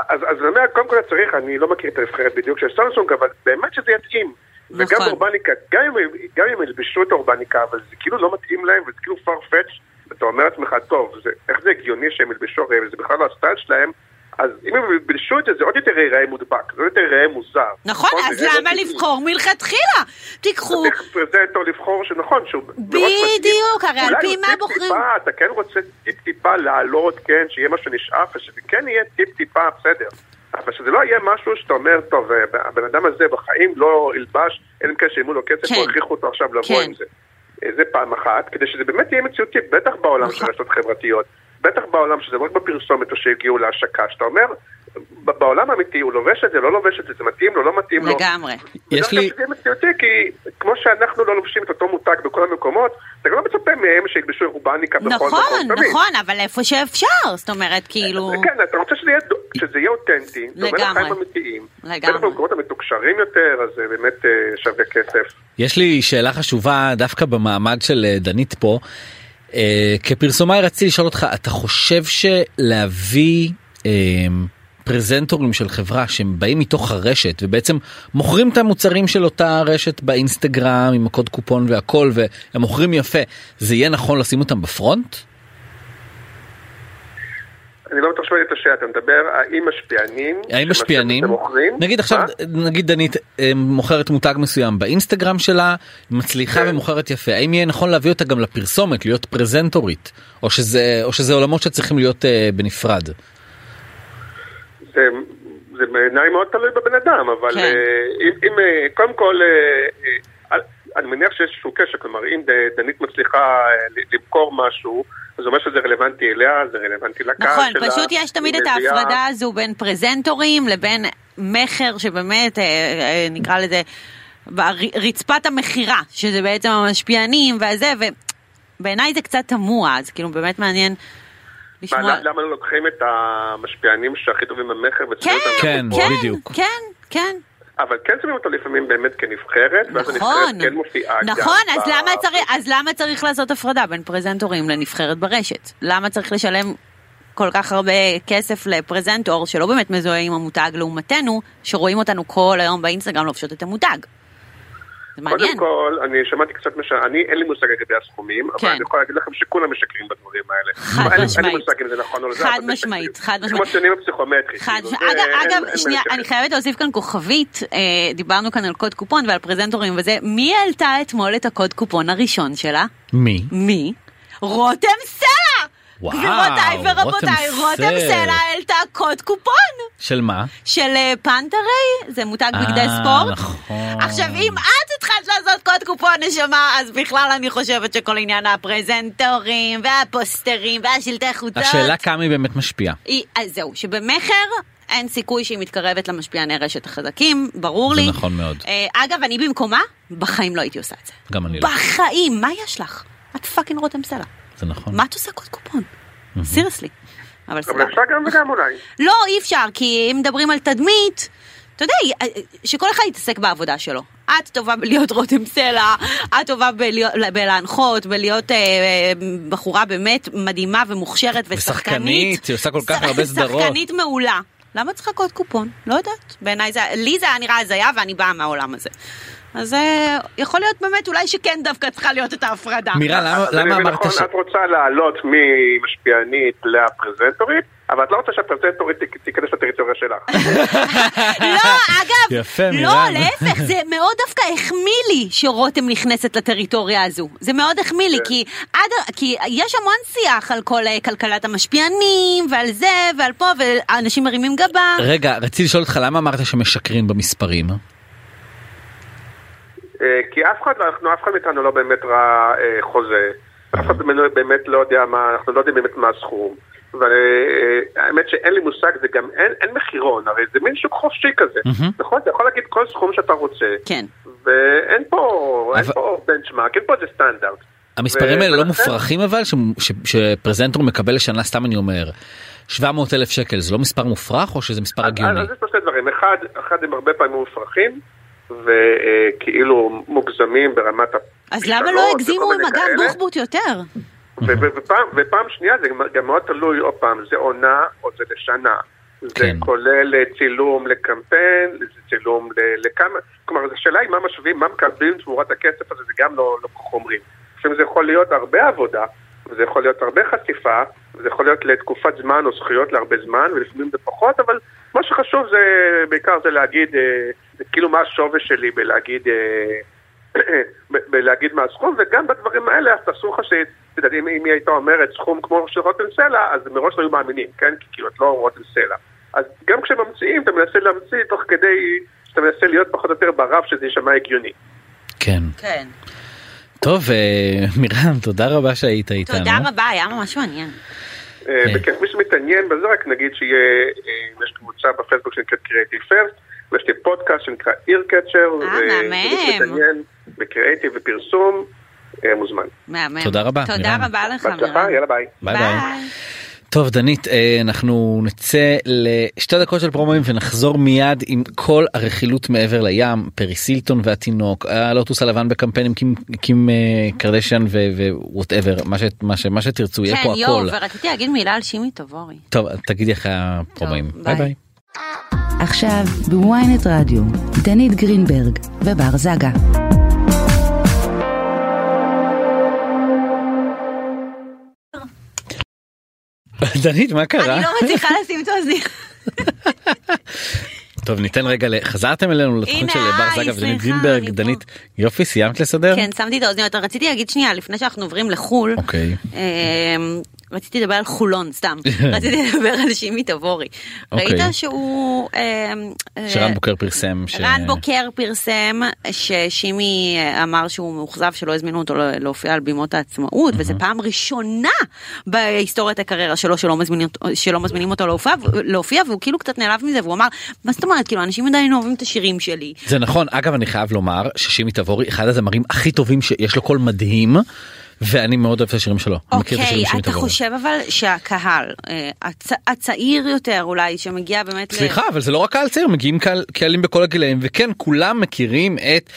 S5: אז, אז אני אומר, קודם כל צריך, אני לא מכיר את הנבחרת בדיוק של סמסונג, אבל באמת שזה יתאים. וגם
S3: נכון.
S5: אורבניקה, גם אם, גם אם ילבשו את אורבניקה, אבל זה כאילו לא מתאים להם, וזה כאילו farfetch, אתה אומר לעצמך, טוב, זה, איך זה הגיוני שהם ילבשו, הרי זה בכלל לא הסטייל שלהם, אז אם הם ילבשו את זה, זה עוד יותר ייראה מודבק, זה עוד יותר ייראה מוזר.
S3: נכון, אז
S5: זה לא
S3: למה
S5: טבעי.
S3: לבחור מלכתחילה? תיקחו,
S5: צריך פרזנטור לבחור שנכון, שהוא מראש
S3: בדיוק, הרי על
S5: אולי
S3: פי
S5: הוא
S3: מה
S5: טיפ-טיפה,
S3: בוחרים?
S5: אתה כן רוצה טיפ-טיפה לעלות, כן, שיהיה משהו נשאף, ושזה כן יהיה טיפ-טיפה, בסדר. אבל שזה לא יהיה משהו שאתה אומר, טוב, אה, הבן אדם הזה בחיים לא ילבש, אין קשר אם הוא לו כסף,
S3: כן.
S5: או הכריחו אותו עכשיו לבוא
S3: כן.
S5: עם זה. אה, זה פעם אחת, כדי שזה באמת יהיה מציאותי, בטח בעולם של
S3: נכון.
S5: רשתות חברתיות, בטח בעולם שזה לא רק בפרסומת או שהגיעו להשקה, שאתה אומר, ב- בעולם האמיתי הוא לובש את זה, לא לובש את זה, זה מתאים לו, לא נכון, מתאים לו.
S3: לגמרי.
S2: יש לי
S5: זה מציאותי, כי כמו שאנחנו לא לובשים את אותו מותג בכל המקומות, אתה גם לא מצפה מהם שילבשו אורבניקה בכל מקום.
S3: נכון,
S5: תמיד.
S3: נכון, אבל איפה שאפשר, זאת אומרת, כאילו...
S5: כן, אתה רוצה שזה יהיה, שזה יהיה אותנטי, דומה
S3: לגמרי.
S5: לחיים אמיתיים.
S3: לגמרי.
S5: בטח במקומות המתוקשרים יותר, אז זה באמת אה, שווה כסף.
S2: יש לי שאלה חשובה דווקא במעמד של אה, דנית פה. אה, כפרסומאי רציתי לשאול אותך אתה חושב שלהביא אה, פרזנטורים של חברה שהם באים מתוך הרשת ובעצם מוכרים את המוצרים של אותה רשת באינסטגרם עם הקוד קופון והכל והם מוכרים יפה זה יהיה נכון לשים אותם בפרונט?
S5: אני לא בטוח שומע את השאלה, אתה מדבר האם משפיענים,
S2: האם משפיענים
S5: שהם מוכרים,
S2: נגיד עכשיו
S5: מה?
S2: נגיד דנית אה, מוכרת מותג מסוים באינסטגרם שלה מצליחה
S5: כן.
S2: ומוכרת יפה האם יהיה נכון להביא אותה גם לפרסומת להיות פרזנטורית או שזה או שזה עולמות שצריכים להיות אה, בנפרד.
S5: זה, זה בעיניי מאוד תלוי בבן אדם, אבל
S3: כן.
S5: כן. אם, אם, אה, קודם כל, אה, אה, אל- אני מניח שיש איזשהו קשר, כלומר, אם ד- דנית מצליחה אה, ל- למכור משהו, אז זה אומר שזה רלוונטי אליה, זה רלוונטי לקהל
S3: נכון,
S5: שלה.
S3: פשוט יש תמיד
S5: היא
S3: את
S5: מביאה-
S3: ההפרדה הזו בין פרזנטורים לבין מכר שבאמת, אה, אה, נקרא לזה, בר- רצפת המכירה, שזה בעצם המשפיענים והזה, ובעיניי זה קצת תמוה, אז כאילו באמת מעניין
S5: מה,
S3: לשמוע.
S5: למה לא לוקחים את המשפיענים שהכי טובים במכר
S3: כן,
S5: וצריכים אותם
S2: כן,
S5: לפה?
S3: כן,
S2: בדיוק.
S3: כן, כן.
S5: אבל כן שמים אותם לפעמים באמת כנבחרת, ואז
S3: נכון,
S5: הנבחרת כן מופיעה גם
S3: נכון, אז
S5: ב-
S3: למה, צריך, אז למה צריך לעשות הפרדה בין פרזנטורים לנבחרת ברשת? למה צריך לשלם כל כך הרבה כסף לפרזנטור שלא באמת מזוהה עם המותג לעומתנו, שרואים אותנו כל היום באינסטגרם לובשות את המותג? זה מעניין.
S5: קודם כל, אני שמעתי קצת, מש... אני אין לי מושג לגבי הסכומים,
S3: כן.
S5: אבל אני יכול להגיד לכם שכולם משקרים בדברים האלה.
S3: חד
S5: אין לי- אין לי
S3: משמעית.
S5: מושג אם זה נכון או לא. זה,
S3: חד
S5: אבל זה
S3: משמעית,
S5: שקרים.
S3: חד
S5: זה
S3: משמעית.
S5: כמו שנים בפסיכומטרי.
S3: חד
S5: כאילו,
S3: ש...
S5: זה-
S3: אגב,
S5: אין- אין
S3: אגב,
S5: מה
S3: שנייה,
S5: לשקר.
S3: אני חייבת להוסיף כאן כוכבית, אה, דיברנו כאן על קוד קופון ועל פרזנטורים וזה, מי העלתה אתמול את הקוד קופון הראשון שלה?
S2: מי?
S3: מי? רותם סלע!
S2: וואו,
S3: גבירותיי ורבותיי,
S2: רותם
S3: רותם
S2: סלע.
S3: סלע העלתה קוד קופון
S2: של מה?
S3: של אה, פנטרי, זה מותג
S2: אה,
S3: בגדי ספורט.
S2: נכון.
S3: עכשיו, אם את התחלת לעשות קוד קופון נשמה, אז בכלל אני חושבת שכל עניין הפרזנטורים והפוסטרים והשלטי חוצות...
S2: השאלה כמה היא באמת משפיעה.
S3: היא, אז זהו, שבמכר אין סיכוי שהיא מתקרבת למשפיעני רשת החזקים, ברור
S2: זה
S3: לי.
S2: נכון מאוד.
S3: אה, אגב, אני במקומה, בחיים לא הייתי עושה את זה.
S2: גם אני לא.
S3: בחיים, מה יש לך? את פאקינג רותם סלע.
S2: זה נכון.
S3: מה את עושה קוד קופון? סירסלי. אבל
S5: אבל
S3: סבבה.
S5: אפשר גם וגם אולי.
S3: לא, אי אפשר, כי אם מדברים על תדמית, אתה יודע, אה, שכל אחד יתעסק בעבודה שלו. את טובה בלהיות רותם סלע, את טובה בלהיות- בלהנחות, בלהיות אה, אה, בחורה באמת מדהימה ומוכשרת ושחקנית.
S2: ושחקנית, היא עושה כל כך הרבה סדרות.
S3: שחקנית מעולה. למה צריכה קוד קופון? לא יודעת. בעיניי זה, לי זה היה נראה הזיה ואני באה מהעולם הזה. אז אה, יכול להיות באמת אולי שכן דווקא צריכה להיות את ההפרדה.
S2: מירה, אה, למה-
S5: אז אני
S2: למה
S5: מבין
S2: אמרת
S5: נכון,
S2: ש...
S5: את רוצה לעלות ממשפיענית לפרזנטורית, אבל את לא רוצה שהפרזנטורית ת- תיכנס לטריטוריה שלך.
S3: לא, אגב,
S2: יפה,
S3: לא,
S2: מירב.
S3: להפך, זה מאוד דווקא החמיא לי שרותם נכנסת לטריטוריה הזו. זה מאוד החמיא
S5: כן.
S3: לי, כי עד- כי יש המון שיח על כל אה, כלכלת המשפיענים, ועל זה, ועל פה, ואנשים מרימים גבה.
S2: רגע, רציתי לשאול אותך למה אמרת שמשקרים במספרים?
S5: אה, כי אף אחד, אנחנו, אף אחד מאיתנו לא באמת ראה אה, חוזה, אף אחד מאיתנו באמת לא יודע מה, אנחנו לא יודעים באמת מה הסכום. והאמת שאין לי מושג, זה גם אין, אין מחירון, הרי זה מין שוק חופשי כזה.
S2: מהמם.
S5: נכון? אתה יכול להגיד כל סכום שאתה רוצה,
S3: כן.
S5: ואין פה, אין
S2: אבל-
S5: פה בנצ'מארק, אין פה איזה סטנדרט.
S2: המספרים האלה לא
S5: ולכן-
S2: מופרכים אבל ש- ש- שפרזנטור מקבל לשנה סתם אני אומר 700 אלף שקל זה לא מספר מופרך או שזה מספר הגיוני?
S5: אז, אז יש פה שני דברים. אחד, אחד הם הרבה פעמים מופרכים, וכאילו מוגזמים ברמת ה...
S3: אז למה
S5: פתרונות
S3: לא
S5: וכל
S3: הגזימו עם
S5: מיני
S3: אגב
S5: כאלה.
S3: בוחבוט יותר?
S5: ו- ו- ופעם, ופעם שנייה זה גם- גם מאוד תלוי, עוד פעם, זה עונה או זה לשנה. זה
S2: כן.
S5: כולל אה, צילום לקמפיין, זה צילום ל- לכמה, כלומר, זו שאלה היא מה משווים, מה מקבלים תמורת הכסף הזה, זה גם לא לא כל כך אומרים. לפעמים זה יכול להיות הרבה עבודה, וזה יכול להיות הרבה חשיפה, וזה יכול להיות לתקופת זמן או זכויות להרבה זמן, ולפעמים זה פחות, אבל מה שחשוב זה, בעיקר זה להגיד, אה, זה כאילו מה השווי שלי בלהגיד... אה, ב- בלהגיד מה הסכום, וגם בדברים האלה, אז תעשו לך ש... אתה יודע, אם אם היא הייתה אומרת סכום כמו של רותם סלע, אז מראש לא היו מאמינים, כן? כי כאילו, את לא רותם סלע. אז גם כשממציאים, אתה מנסה להמציא תוך כדי שאתה מנסה להיות פחות או יותר ברף שזה יישמע הגיוני.
S2: כן.
S3: כן.
S2: טוב אה, (laughs) מירם תודה רבה שהיית איתנו.
S3: תודה רבה, היה ממש מעניין.
S5: אה, וכן, מי שמתעניין בזה, רק נגיד שיהיה, אה, יש קבוצה בפייסבוק שנקראת Creative First, ויש לי פודקאסט שנקרא איר קצ'ר, ומי
S3: מהמם.
S5: שמתעניין בקריאיטיב ופרסום, אה, מוזמן.
S3: מהמם.
S2: תודה רבה,
S3: תודה
S2: מירב.
S3: רבה לך,
S5: בהצלחה,
S3: מירב.
S5: יאללה ביי.
S2: ביי ביי. טוב דנית אה, אנחנו נצא לשתי דקות של פרומואים ונחזור מיד עם כל הרכילות מעבר לים פרי סילטון והתינוק הלוטוס הלבן בקמפיין עם קים, קים אה, קרדשן ווואטאבר מה, ש- מה, ש- מה שתרצו יהיה
S3: כן,
S2: פה
S3: יואו,
S2: הכל.
S3: ורציתי להגיד מילה על שימי טובורי.
S2: טוב תגידי אחרי הפרומואים.
S3: טוב,
S2: ביי
S3: ביי.
S2: ביי.
S6: עכשיו בוויינט רדיו, דנית גרינברג ובר זגה.
S2: (laughs) דנית מה קרה?
S3: אני לא מצליחה לשים את האוזניה.
S2: טוב ניתן רגע ל- חזרתם אלינו לתוכנית
S3: הנה,
S2: של בר
S3: היי,
S2: זגה ודנית
S3: סליחה,
S2: גרינברג
S3: אני פה.
S2: דנית יופי סיימת לסדר?
S3: כן, שמתי את האוזניות. רציתי להגיד שנייה, לפני שאנחנו עוברים לחו"ל,
S2: אוקיי.
S3: אמ, רציתי לדבר על חולון,
S2: (laughs)
S3: סתם. רציתי לדבר על שימי תבורי.
S2: אוקיי.
S3: ראית שהוא... אמ, אה,
S2: שרן בוקר פרסם ש...
S3: רן בוקר פרסם ששימי אה, אמר שהוא מאוכזב שלא הזמינו אותו לא- להופיע על בימות העצמאות וזה פעם ראשונה בהיסטוריית הקריירה שלו שלא מזמינים, אותו- שלא מזמינים אותו להופיע, להופיע והוא כאילו קצת נעלב מזה והוא אמר מה זאת אומרת כאילו אנשים עדיין אוהבים את השירים שלי
S2: זה נכון אגב אני חייב לומר ששימי תבורי אחד הזמרים הכי טובים שיש לו קול מדהים ואני מאוד אוהב את השירים שלו. אני מכיר את השירים
S3: אוקיי,
S2: של שימי
S3: אתה
S2: תבורי.
S3: חושב אבל שהקהל אה, הצ- הצעיר יותר אולי שמגיע באמת ל- (laughs)
S2: סליחה אבל זה לא רק קהל צעיר מגיעים קהל- קהלים בכל הגילאים וכן כולם מכירים את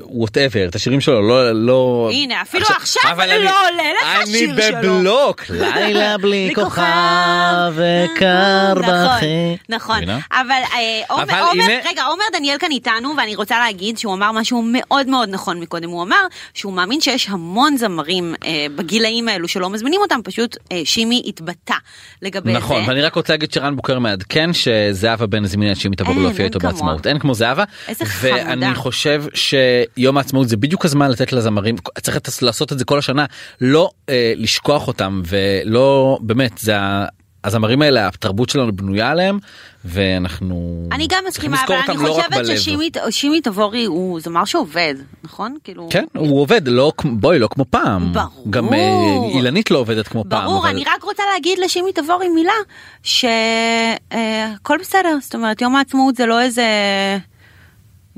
S2: וואטאבר את השירים שלו לא לא
S3: הנה, אפילו עכשיו
S2: אבל
S3: לא עולה לך השיר שלו.
S2: אני בבלוק לילה בלי כוכב וקר בחי
S3: נכון,
S2: מבינה?
S3: נכון, אבל אה,
S2: אבל
S3: עומר, עומר-
S2: הנה-
S3: רגע, עומר דניאל כאן איתנו, ואני רוצה להגיד שהוא אמר משהו מאוד מאוד נכון מקודם, הוא אמר שהוא מאמין שיש המון זמרים אה, בגילאים האלו שלא מזמינים אותם, פשוט אה, שימי התבטא לגבי זה.
S2: נכון ואני רק רוצה להגיד שרן בוקר מעדכן שזהבה בן הזמינה את שימי תבוא
S3: אין,
S2: להופיע
S3: אין
S2: איתו
S3: כמוה.
S2: בעצמאות אין כמו זהבה
S3: איזה חמודה.
S2: ואני חושב שיום העצמאות זה בדיוק הזמן לתת לזמרים צריך לת- לעשות את זה כל השנה לא אה, לשכוח אותם ולא באמת זה ה- הזמרים האלה התרבות שלנו בנויה עליהם ואנחנו
S3: אני גם
S2: צריכים
S3: מסכימה, אבל
S2: לזכור
S3: אני
S2: אותם לא רק
S3: חושבת
S2: בלב.
S3: ששימי שימי תבורי הוא זמר שעובד, נכון? כאילו...
S2: כן הוא עובד לא כמו- בואי לא כמו פעם
S3: ברור.
S2: גם אה, אילנית לא עובדת כמו פעם
S3: ברור,
S2: אבל-
S3: אני רק רוצה להגיד לשימי תבורי מילה, שהכל בסדר, זאת אומרת, יום העצמאות זה לא איזה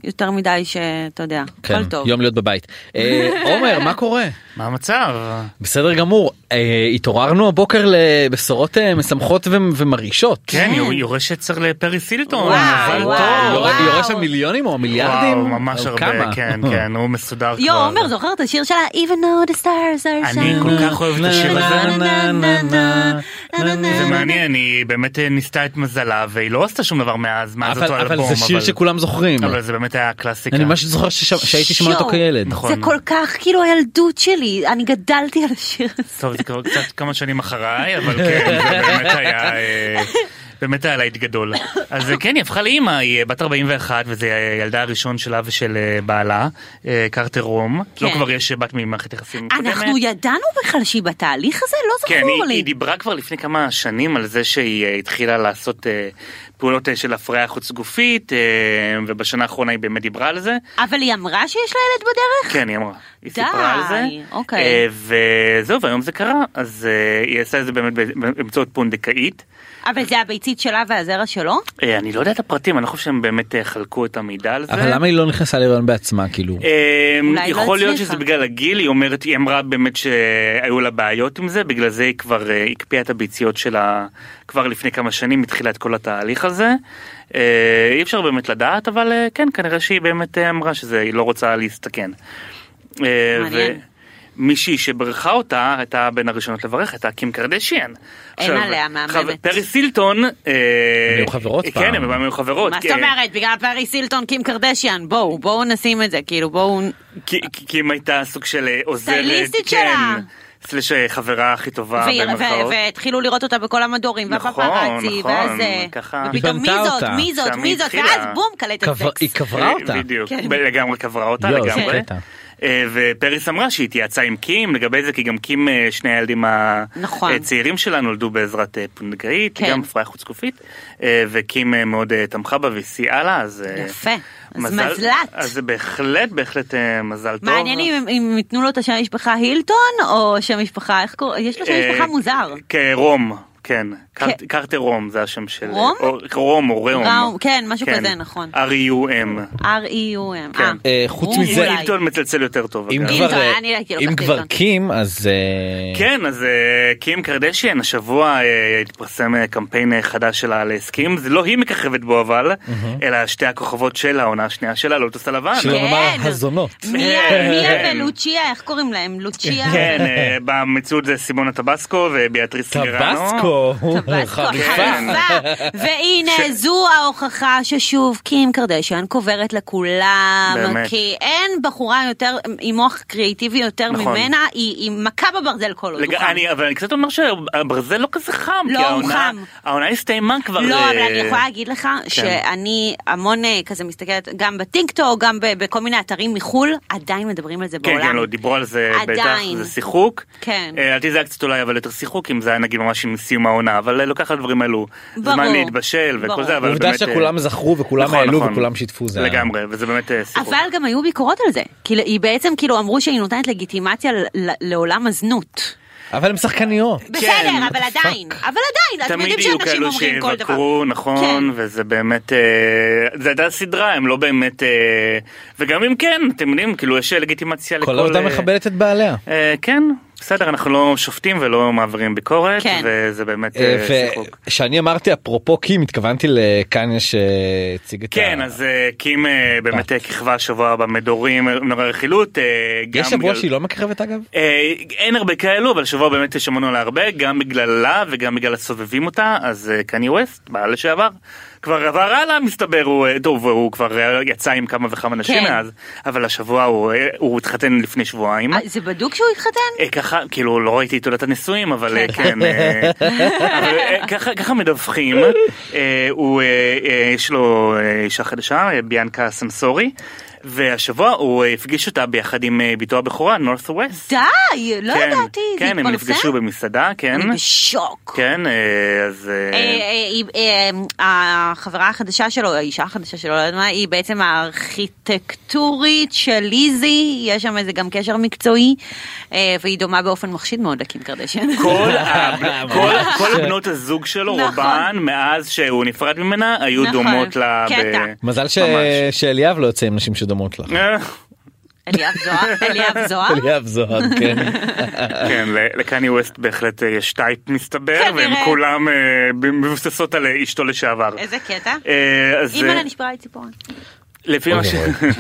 S3: יותר מדי שאתה יודע,
S2: כן,
S3: הכל טוב.
S2: יום להיות בבית אה, עומר מה קורה
S7: מה המצב?
S2: בסדר גמור אה, התעוררנו הבוקר לבשורות אה, משמחות ו- ומרעישות.
S7: כן, יור- יורש עצר לפרי סילטון.
S3: וואו,
S7: מזל
S3: וואו,
S7: טוב.
S2: יורד-
S3: וואו.
S2: יורש המיליונים או המיליארדים?
S7: וואו, ממש
S2: או
S7: הרבה,
S2: כמה? אה.
S7: כן, כן, הוא מסודר כבר.
S3: יו, עומר, זוכר את השיר שלה? Even though the stars are
S7: אני כל
S3: shining.
S7: כך אוהב את השיר
S2: נה,
S7: הזה. כן.
S2: נה, נה, נה, נה, נה, נה.
S7: זה מעניין, היא באמת אה, ניסתה את מזלה, והיא לא עשתה שום דבר מאז, מאז
S2: אבל
S7: אותו
S2: אבל
S7: אלבום.
S2: זה שיר שכולם זוכרים.
S7: אבל זה באמת היה קלאסיקה.
S2: אני ממש זוכר שש- שהייתי שומע אותו
S3: שואו.
S2: כילד.
S7: נכון.
S3: זה כל כך כאילו הילדות שלי, אני גדלתי על השיר הזה.
S7: טוב, זה כבר קצת כמה שנים אחריי, אבל כן, זה באמת היה... אה, באמת היה להיט גדול. אז אה, כן, היא הפכה לאימא, היא אה, בת 41, וזה אה, הילדה הראשון שלה ושל אה, בעלה, אה, קרטר רום.
S3: כן.
S7: לא כבר יש אה, בת ממערכת יחסים קודמת.
S3: אנחנו ידענו בכלל שהיא בתהליך הזה? לא
S7: כן,
S3: זכור
S7: היא,
S3: לי.
S7: היא דיברה כבר לפני כמה שנים על זה שהיא אה, התחילה לעשות אה, פעולות אה, של הפריה חוץ גופית, אה, ובשנה האחרונה היא באמת דיברה על זה.
S3: אבל היא אמרה שיש לה ילד בדרך?
S7: כן, היא אמרה. היא
S3: די,
S7: סיפרה על זה.
S3: אוקיי.
S7: אה, וזהו, והיום זה קרה. אז אה, היא עשתה את זה באמת באמצעות פונדקאית.
S3: אבל זה הביצית שלה והזרע שלו?
S7: אה, אני לא יודע את הפרטים, אני לא חושב שהם באמת אה, חלקו את המידע על זה.
S2: אבל למה היא לא נכנסה להיריון בעצמה כאילו?
S7: אה,
S3: אולי היא לא
S7: יכול להיות
S3: הצליחה.
S7: שזה בגלל הגיל, היא אומרת, היא אמרה באמת שהיו לה בעיות עם זה, בגלל זה היא כבר אה, הקפיאה את הביציות שלה כבר לפני כמה שנים, התחילה את כל התהליך הזה. אה, אי אפשר באמת לדעת, אבל אה, כן, כנראה שהיא באמת אה, אמרה שזה, היא לא רוצה להסתכן. אה,
S3: מעניין.
S7: ו- מישהי שברכה אותה הייתה בין הראשונות לברך הייתה קים קרדשיאן. עכשיו,
S3: עליה, מהממת.
S7: חב- פרי סילטון. אה,
S2: הם היו חברות
S7: כן,
S2: פעם.
S7: הם הם היו חברות.
S3: מה זאת
S7: אה,
S3: אומרת? בגלל פרי סילטון, קים קרדשיאן, בואו, בואו נשים את זה, כאילו בואו...
S7: כי כי- כי אם הייתה סוג של אה, עוזרת,
S3: סטייליסטית
S7: כן,
S3: שלה.
S7: סלש אה, חברה הכי טובה
S3: והיא-
S7: במרכאות.
S3: ו- והתחילו לראות אותה בכל המדורים,
S7: נכון,
S3: והפפראצי,
S7: נכון,
S3: ואז... אה,
S7: ככה.
S3: ופתאום
S2: היא
S3: מי
S2: בנתה
S3: זאת,
S2: אותה.
S3: מי זאת,
S7: שם
S3: מי
S7: היא
S3: זאת,
S7: התחילה.
S3: ואז בום, קלטת
S2: קבר- היא
S3: סקס.
S2: קברה אותה.
S7: אה, בדיוק,
S3: כן.
S7: ב- לגמרי קברה אותה,
S2: יואו, זה
S7: לגמרי.
S2: קטע.
S7: אה, ופריס אמרה שהיא התייעצה עם קים לגבי זה, כי גם קים, אה, שני הילדים
S3: נכון.
S7: הצעירים שלה נולדו בעזרת אה, פונדקאית,
S3: כן.
S7: גם הפריה חוץ גופית, אה, וקים אה, מאוד אה, תמכה בה והיא סייעה לה, אז... אה,
S3: יפה. אז
S7: מזל-
S3: מזלת.
S7: אז זה בהחלט, בהחלט אה, מזל טוב.
S3: מעניין אם אם ייתנו לו את השם משפחה הילטון, או שם משפחה, איך קוראים? יש לו שם
S7: אה,
S3: משפחה מוזר.
S7: כן, רום, כן. קר-
S3: כן.
S7: קרטר רום זה השם של... אה,
S3: רום?
S7: או- רום או
S3: ראום,
S7: ראום.
S3: כן, משהו כזה, נכון.
S7: E R-U-M.
S3: R-E-U-M.
S7: כן.
S2: אה, חוץ
S3: הוא
S2: מזה-
S3: אולי.
S7: הילטון מצלצל יותר טוב.
S2: אם
S7: אגב.
S3: אם
S2: כבר
S3: זה- כאילו
S2: אה,
S3: אני הייתי לוקחת
S2: אם כבר
S3: עיתון.
S2: קים אז אה,
S7: כן, אז אה, קים קרדשיאן, השבוע אה, התפרסם אה, קמפיין אה, חדש שלה על הסכים, זה לא היא מככבת בו אבל, אלא שתי הכוכבות שלה, העונה השנייה שלה, לוטוס הלבן.
S2: שלא
S3: כן.
S2: נאמר הזונות.
S3: מיה
S7: כן. (laughs)
S3: מיה ולוצ'יה, איך קוראים להם? לוצ'יה?
S7: כן, אה, במציאות זה סימונה טבסקו וביאטריס סיגרנו.
S2: טבסקו,
S7: (laughs)
S3: טבסקו, כן.
S2: חריפה.
S3: חריפה. והנה זו ההוכחה ששוב קים קרדשן קוברת לכולם,
S7: באמת.
S3: כי אין בחורה יותר עם מוח קריאיטיבי יותר
S7: נכון.
S3: ממנה, היא היא מכה בברזל כל עוד
S7: לג...
S3: הוא חם.
S7: אני, אבל אני קצת אומר שהברזל לא כזה חם,
S3: לא,
S7: כי
S3: הוא
S7: העונה,
S3: חם.
S7: העונה הסתיימה כבר.
S3: לא,
S7: אה, כן.
S3: אבל אני יכולה להגיד לך שאני המון אה, כזה מסתכלת גם בטינקטוק, גם ב- בכל מיני אתרים מחול, עדיין מדברים על זה
S7: כן, כן,
S3: בעולם.
S7: לא, דיברו על זה בטח,
S3: עדיין.
S7: זה שיחוק.
S3: כן.
S7: אה, לדעתי זה היה קצת אולי אבל יותר שיחוק, אם זה היה נגיד ממש עם סיום העונה, אבל אה, לוקח על הדברים האלו
S3: ברור.
S7: זמן להתבשל
S3: ברור.
S7: וכל זה, אבל
S2: עובדה
S7: באמת... אה,
S2: שכולם זכרו וכולם
S7: נכון,
S2: העלו
S7: נכון.
S2: וכולם שיתפו זה. היה-
S7: לגמרי, וזה באמת אה, שיחוק.
S3: אבל גם היו ביקורות על זה, כי היא בעצם כאילו אמרו שהיא נותנת לגיטימציה ל- ל- לעולם הזנות.
S2: אבל הם שחקניות.
S3: בסדר, אבל עדיין, אבל עדיין, אתם
S7: כן. תמיד
S3: יודעים
S7: יהיו
S3: שאנשים
S7: כאלו
S3: אומרים כל דבר. כן.
S7: שיבקרו, נכון, וזה באמת, אה, זה הייתה סדרה, הם לא באמת, אה, וגם אם כן, אתם יודעים, כאילו יש לגיטימציה לכל...
S2: כל עבודה
S7: אה,
S2: מכבדת את בעליה.
S7: אה, כן, בסדר, אנחנו לא שופטים ולא מעבירים ביקורת,
S3: כן.
S7: וזה באמת אה, שיחוק.
S2: וכשאני אמרתי אפרופו קים התכוונתי לקניה שהציג את ה...
S7: כן, אז אה, קים אה, באמת אה, כיכבה השבוע במדורים, אה, נורא רכילות. אה, גם
S2: יש שבוע
S7: בגלל-
S2: שהיא לא מככבת אגב?
S7: אה, אין הרבה כאלו, אבל השבוע באמת שמענו עליה הרבה, גם בגללה וגם בגלל הסובבים אותה, אז אה, קני ווסט, בעל לשעבר, כבר עבר הלאה מסתבר, הוא, אה, טוב, הוא כבר אה, יצא עם כמה וכמה נשים
S3: כן.
S7: מאז, אבל השבוע הוא אה, הוא התחתן לפני שבועיים.
S3: אה, זה בדוק שהוא התחתן?
S7: אה, ככה כאילו לא ראיתי את תעודת הנישואים אבל אה, כן אה, אבל, אה, ככה ככה מדווחים אה, הוא אה, אה, יש לו אה, אישה חדשה אה, ביאנקה סמסורי והשבוע הוא אה, הפגיש אותה ביחד עם אה, בתו הבכורה נורת' ווסט.
S3: די, לא ידעתי, זה
S7: אה, כן הם
S3: התפרסם?
S7: נפגשו במסעדה כן
S3: אני בשוק.
S7: כן אה, אז אה,
S3: אה, אה, אה, אה, החברה החדשה שלו, האישה החדשה שלו, לא יודעת מה, היא בעצם הארכיטקטורית של ליזי, יש שם איזה גם קשר מקצועי, אה, והיא דומה באופן מחשיד מאוד לקים קרדשן.
S7: כל
S3: (laughs)
S7: ה- כל- כל בנות הזוג שלו
S3: נכון.
S7: רובן מאז שהוא נפרד ממנה היו
S3: נכון.
S7: דומות לה. ב-
S3: קטע.
S2: מזל ש-
S7: ממש.
S2: שאליאב לא יוצא עם נשים שדומות לך.
S7: אה,
S3: אליאב זוהר, אליאב זוהר,
S2: אליאב זוהר,
S7: (laughs)
S2: כן.
S7: כן, ל- לקני ווסט בהחלט אה, יש טייפ מסתבר,
S3: כנראה.
S7: והן כולם אה, ב- מבוססות על אה, אשתו לשעבר.
S3: איזה קטע.
S7: אה, אז, אה,
S3: אימא'לה נשברה לי ציפורן.
S7: לפי מה ש-
S2: אוי,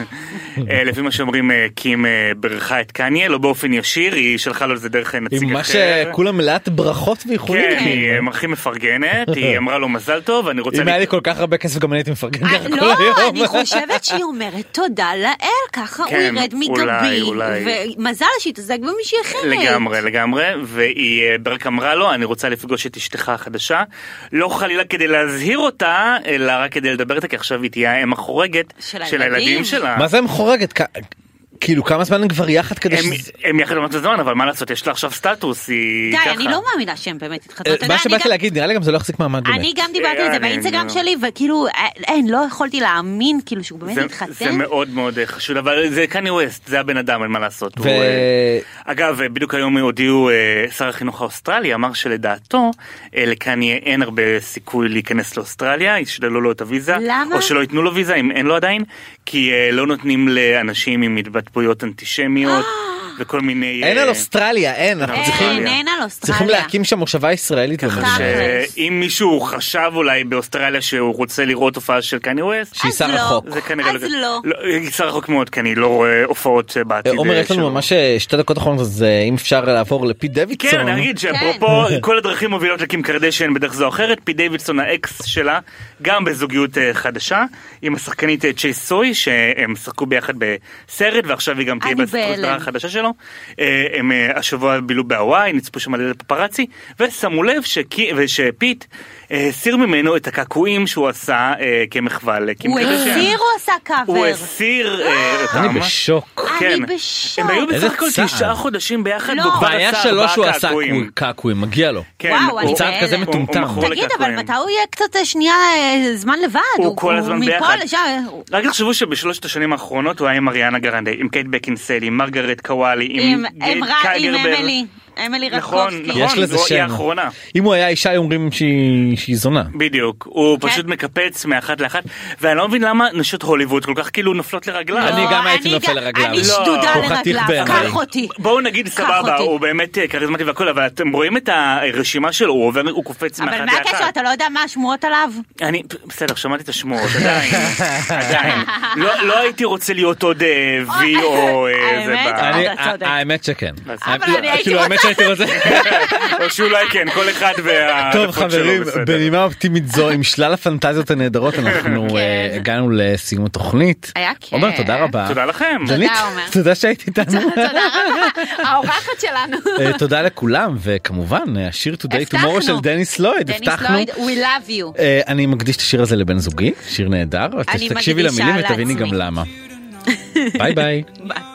S7: אה, לפי מה שאומרים אה, קים אה, בירכה את קניה לא באופן ישיר היא שלחה לו את זה דרך אה, נציג
S2: ממש
S7: אחר.
S2: כולם מלאת ברכות ואיחולים.
S7: כן, היא אה, הכי מפרגנת, היא אמרה לו מזל טוב, אני רוצה...
S2: אם היה לי
S7: לק-
S2: כל כך הרבה כסף גם אני הייתי מפרגן
S3: אה,
S2: ככה כל
S3: לא,
S2: היום.
S3: אני חושבת שהיא אומרת תודה לאל, ככה הוא
S7: כן,
S3: ירד
S7: אולי,
S3: מגבי,
S7: אולי.
S3: ומזל שהתעסק במישהי אחרת.
S7: לגמרי לגמרי והיא אה, ברק אמרה לו אני רוצה לפגוש את אשתך החדשה לא חלילה כדי להזהיר אותה אלא רק כדי לדבר איתה כי עכשיו היא תהיה האם החורגת
S3: של
S7: של
S3: הילדים.
S7: הילדים שלה.
S2: מה זה מחורגת? כ- כאילו כמה זמן הם כבר יחד כדי
S7: הם,
S2: שזה...
S7: הם יחד במעט הזמן אבל מה לעשות יש לה עכשיו סטטוס היא
S3: די,
S7: ככה.
S3: אני לא מאמינה שהם באמת התחתנו. אתה יודע,
S2: אה, מה
S3: אני
S2: שבאתי
S3: גם-
S2: להגיד נראה לי גם זה לא יחזיק מעמד באמת.
S3: אני גם דיברתי על זה
S7: אה, אני-
S3: באינסטגרם
S7: אני-
S3: שלי, וכאילו, אה, אין, לא יכולתי להאמין, כאילו, שהוא באמת
S7: זה, זה
S3: התחתן.
S7: מאוד מאוד אה, חשוד אבל זה קני ווסט זה הבן אדם אין מה לעשות.
S2: ו-
S7: הוא, אה, אגב אה, בדיוק היום הודיעו אה, שר החינוך האוסטרלי אמר שלדעתו אה, לקניה אין הרבה סיכוי להיכנס לאוסטרליה ישללו לו את הוויזה
S3: למה?
S7: או שלא ייתנו לו ויזה אם אין לו עדיין כי אה, לא נותנים לאנשים עם התבטאויות אנטישמיות וכל מיני
S2: אין
S7: אה,
S2: על אוסטרליה, אין. אנחנו
S7: אין,
S2: צריכים-
S3: אין, אין על אוסטרליה.
S2: צריכים להקים שם מושבה ישראלית.
S7: ככה
S2: במדינה.
S3: תכלס.
S7: שאם מישהו חשב אולי באוסטרליה שהוא רוצה לראות הופעה של קני ווסט
S2: שהיא
S3: אז
S2: שרה
S3: לא.
S2: חוק.
S7: זה כנראה
S3: אז לא.
S7: היא שר רחוק מאוד כי אני לא רואה הופעות אה, בעתיד.
S2: עומר
S7: אה,
S2: יש לנו
S7: שלו.
S2: ממש אה, שתי דקות אחרונות אז אה, אם אפשר לעבור לפי דוידסון.
S7: כן, אני אגיד שאפרופו כל הדרכים מובילות לקים קרדשן בדרך זו או אחרת, פי דיווידסון האקס שלה, גם בזוגיות אה, חדשה, עם השחקנית אה, צ'ייס סוי, שהם שחקו ביחד בסרט, ועכשיו היא גם תהיה
S3: אני
S7: בסדרה
S3: בהלם.
S7: החדשה שלו. אה, הם אה, השבוע בילו בהוואי, נצפו שם על ידי פפרצי, ושמו לב שקי- ושפיט אה, הסיר ממנו את הקעקועים שהוא עשה אה, כמחווה לקים
S3: הוא
S7: קרדשן.
S3: הסיר או עשה
S7: הוא
S3: קאבר?
S7: הסיר אה, אותם.
S2: אני בשוק.
S7: כן.
S3: אני בשוק.
S7: הם היו
S2: איזה
S7: בסך הכל
S2: צער.
S7: תשעה חודשים ביחד,
S3: לא.
S7: והוא כבר
S2: בעיה
S7: עשה
S2: שלו
S7: ארבעה
S2: שהוא עשה
S7: קעקועים.
S2: קעקועים, מגיע לו.
S7: כן,
S3: וואו,
S7: הוא-
S3: אני
S7: הוא-
S2: צעד כזה
S3: בהלם.
S7: הוא- הוא
S2: מטומטם.
S7: מכור
S3: תגיד, אבל
S7: לקעקועים.
S3: מתי הוא יהיה קצת אה, שנייה אה, זמן לבד?
S7: הוא כל הזמן ביחד.
S3: מפה לשם. הוא-
S7: רק תחשבו שבשלושת השנים האחרונות הוא היה עם אריאנה גרנדה, עם קייט בקינסל, עם מרגרט קוואלי, עם
S3: עם
S7: גייט
S3: אמרה- עם
S7: קייגרבר.
S3: אמילי. אמילי
S7: נכון,
S3: רקובסקי.
S2: יש לזה
S7: זו- היא
S2: שם.
S7: האחרונה.
S2: אם הוא היה אישה היו אומרים שהיא שהיא זונה.
S7: בדיוק, הוא
S3: כן.
S7: פשוט מקפץ מאחת לאחת, ואני לא מבין למה נשות הוליווד כל כך כאילו נופלות לרגליו.
S2: אני
S3: לא,
S2: גם הייתי
S3: אני
S2: נופל
S3: גם-
S2: לרגליו.
S3: אני
S7: לא.
S3: שדודה
S2: הוא חתיך
S3: לרגליו,
S2: בעיניי.
S3: קח אותי.
S7: בואו נגיד סבבה,
S3: אותי.
S7: הוא באמת אה, כריזמטי והכל, אבל אתם רואים את הרשימה שלו, הוא עובר, הוא קופץ מאחת
S3: אבל מה
S7: לאחת.
S3: הקשר? אתה לא יודע מה השמועות עליו?
S7: אני, בסדר, שמעתי את השמועות, עדיין, עדיין. לא לא הייתי רוצה להיות עוד אה, וי או אה, זה
S3: האמת?
S7: ב-
S2: אני-
S3: אתה צודק.
S2: האמת שכן.
S7: אבל
S2: כאילו,
S3: אני הייתי
S2: כאילו, האמת שהייתי רוצה.
S7: או שאולי כן, כל אחד וה...
S2: טוב חברים, בנימה אופטימית זו, עם שלל הפנטזיות
S7: (laughs)
S2: הנהדרות, אנחנו אה, הגענו לסיום התוכנית.
S3: היה כיף.
S2: עומר, תודה רבה.
S7: תודה לכם.
S2: דנית,
S3: תודה, עומר.
S2: תודה שהיית איתנו.
S8: האורחת שלנו.
S2: אה, תודה לכולם, וכמובן, אה, השיר Today
S8: הבטחנו.
S2: Tomorrow של דניס לויד,
S8: דניס
S2: הבטחנו.
S8: לויד, we love you.
S2: אה, אני מקדיש את השיר הזה לבן זוגי, שיר נהדר, אז
S3: אני
S2: תקשיבי
S3: מקדישה
S2: למילים ותביני
S3: לעצמי.
S2: גם למה. ביי ביי.
S3: ביי.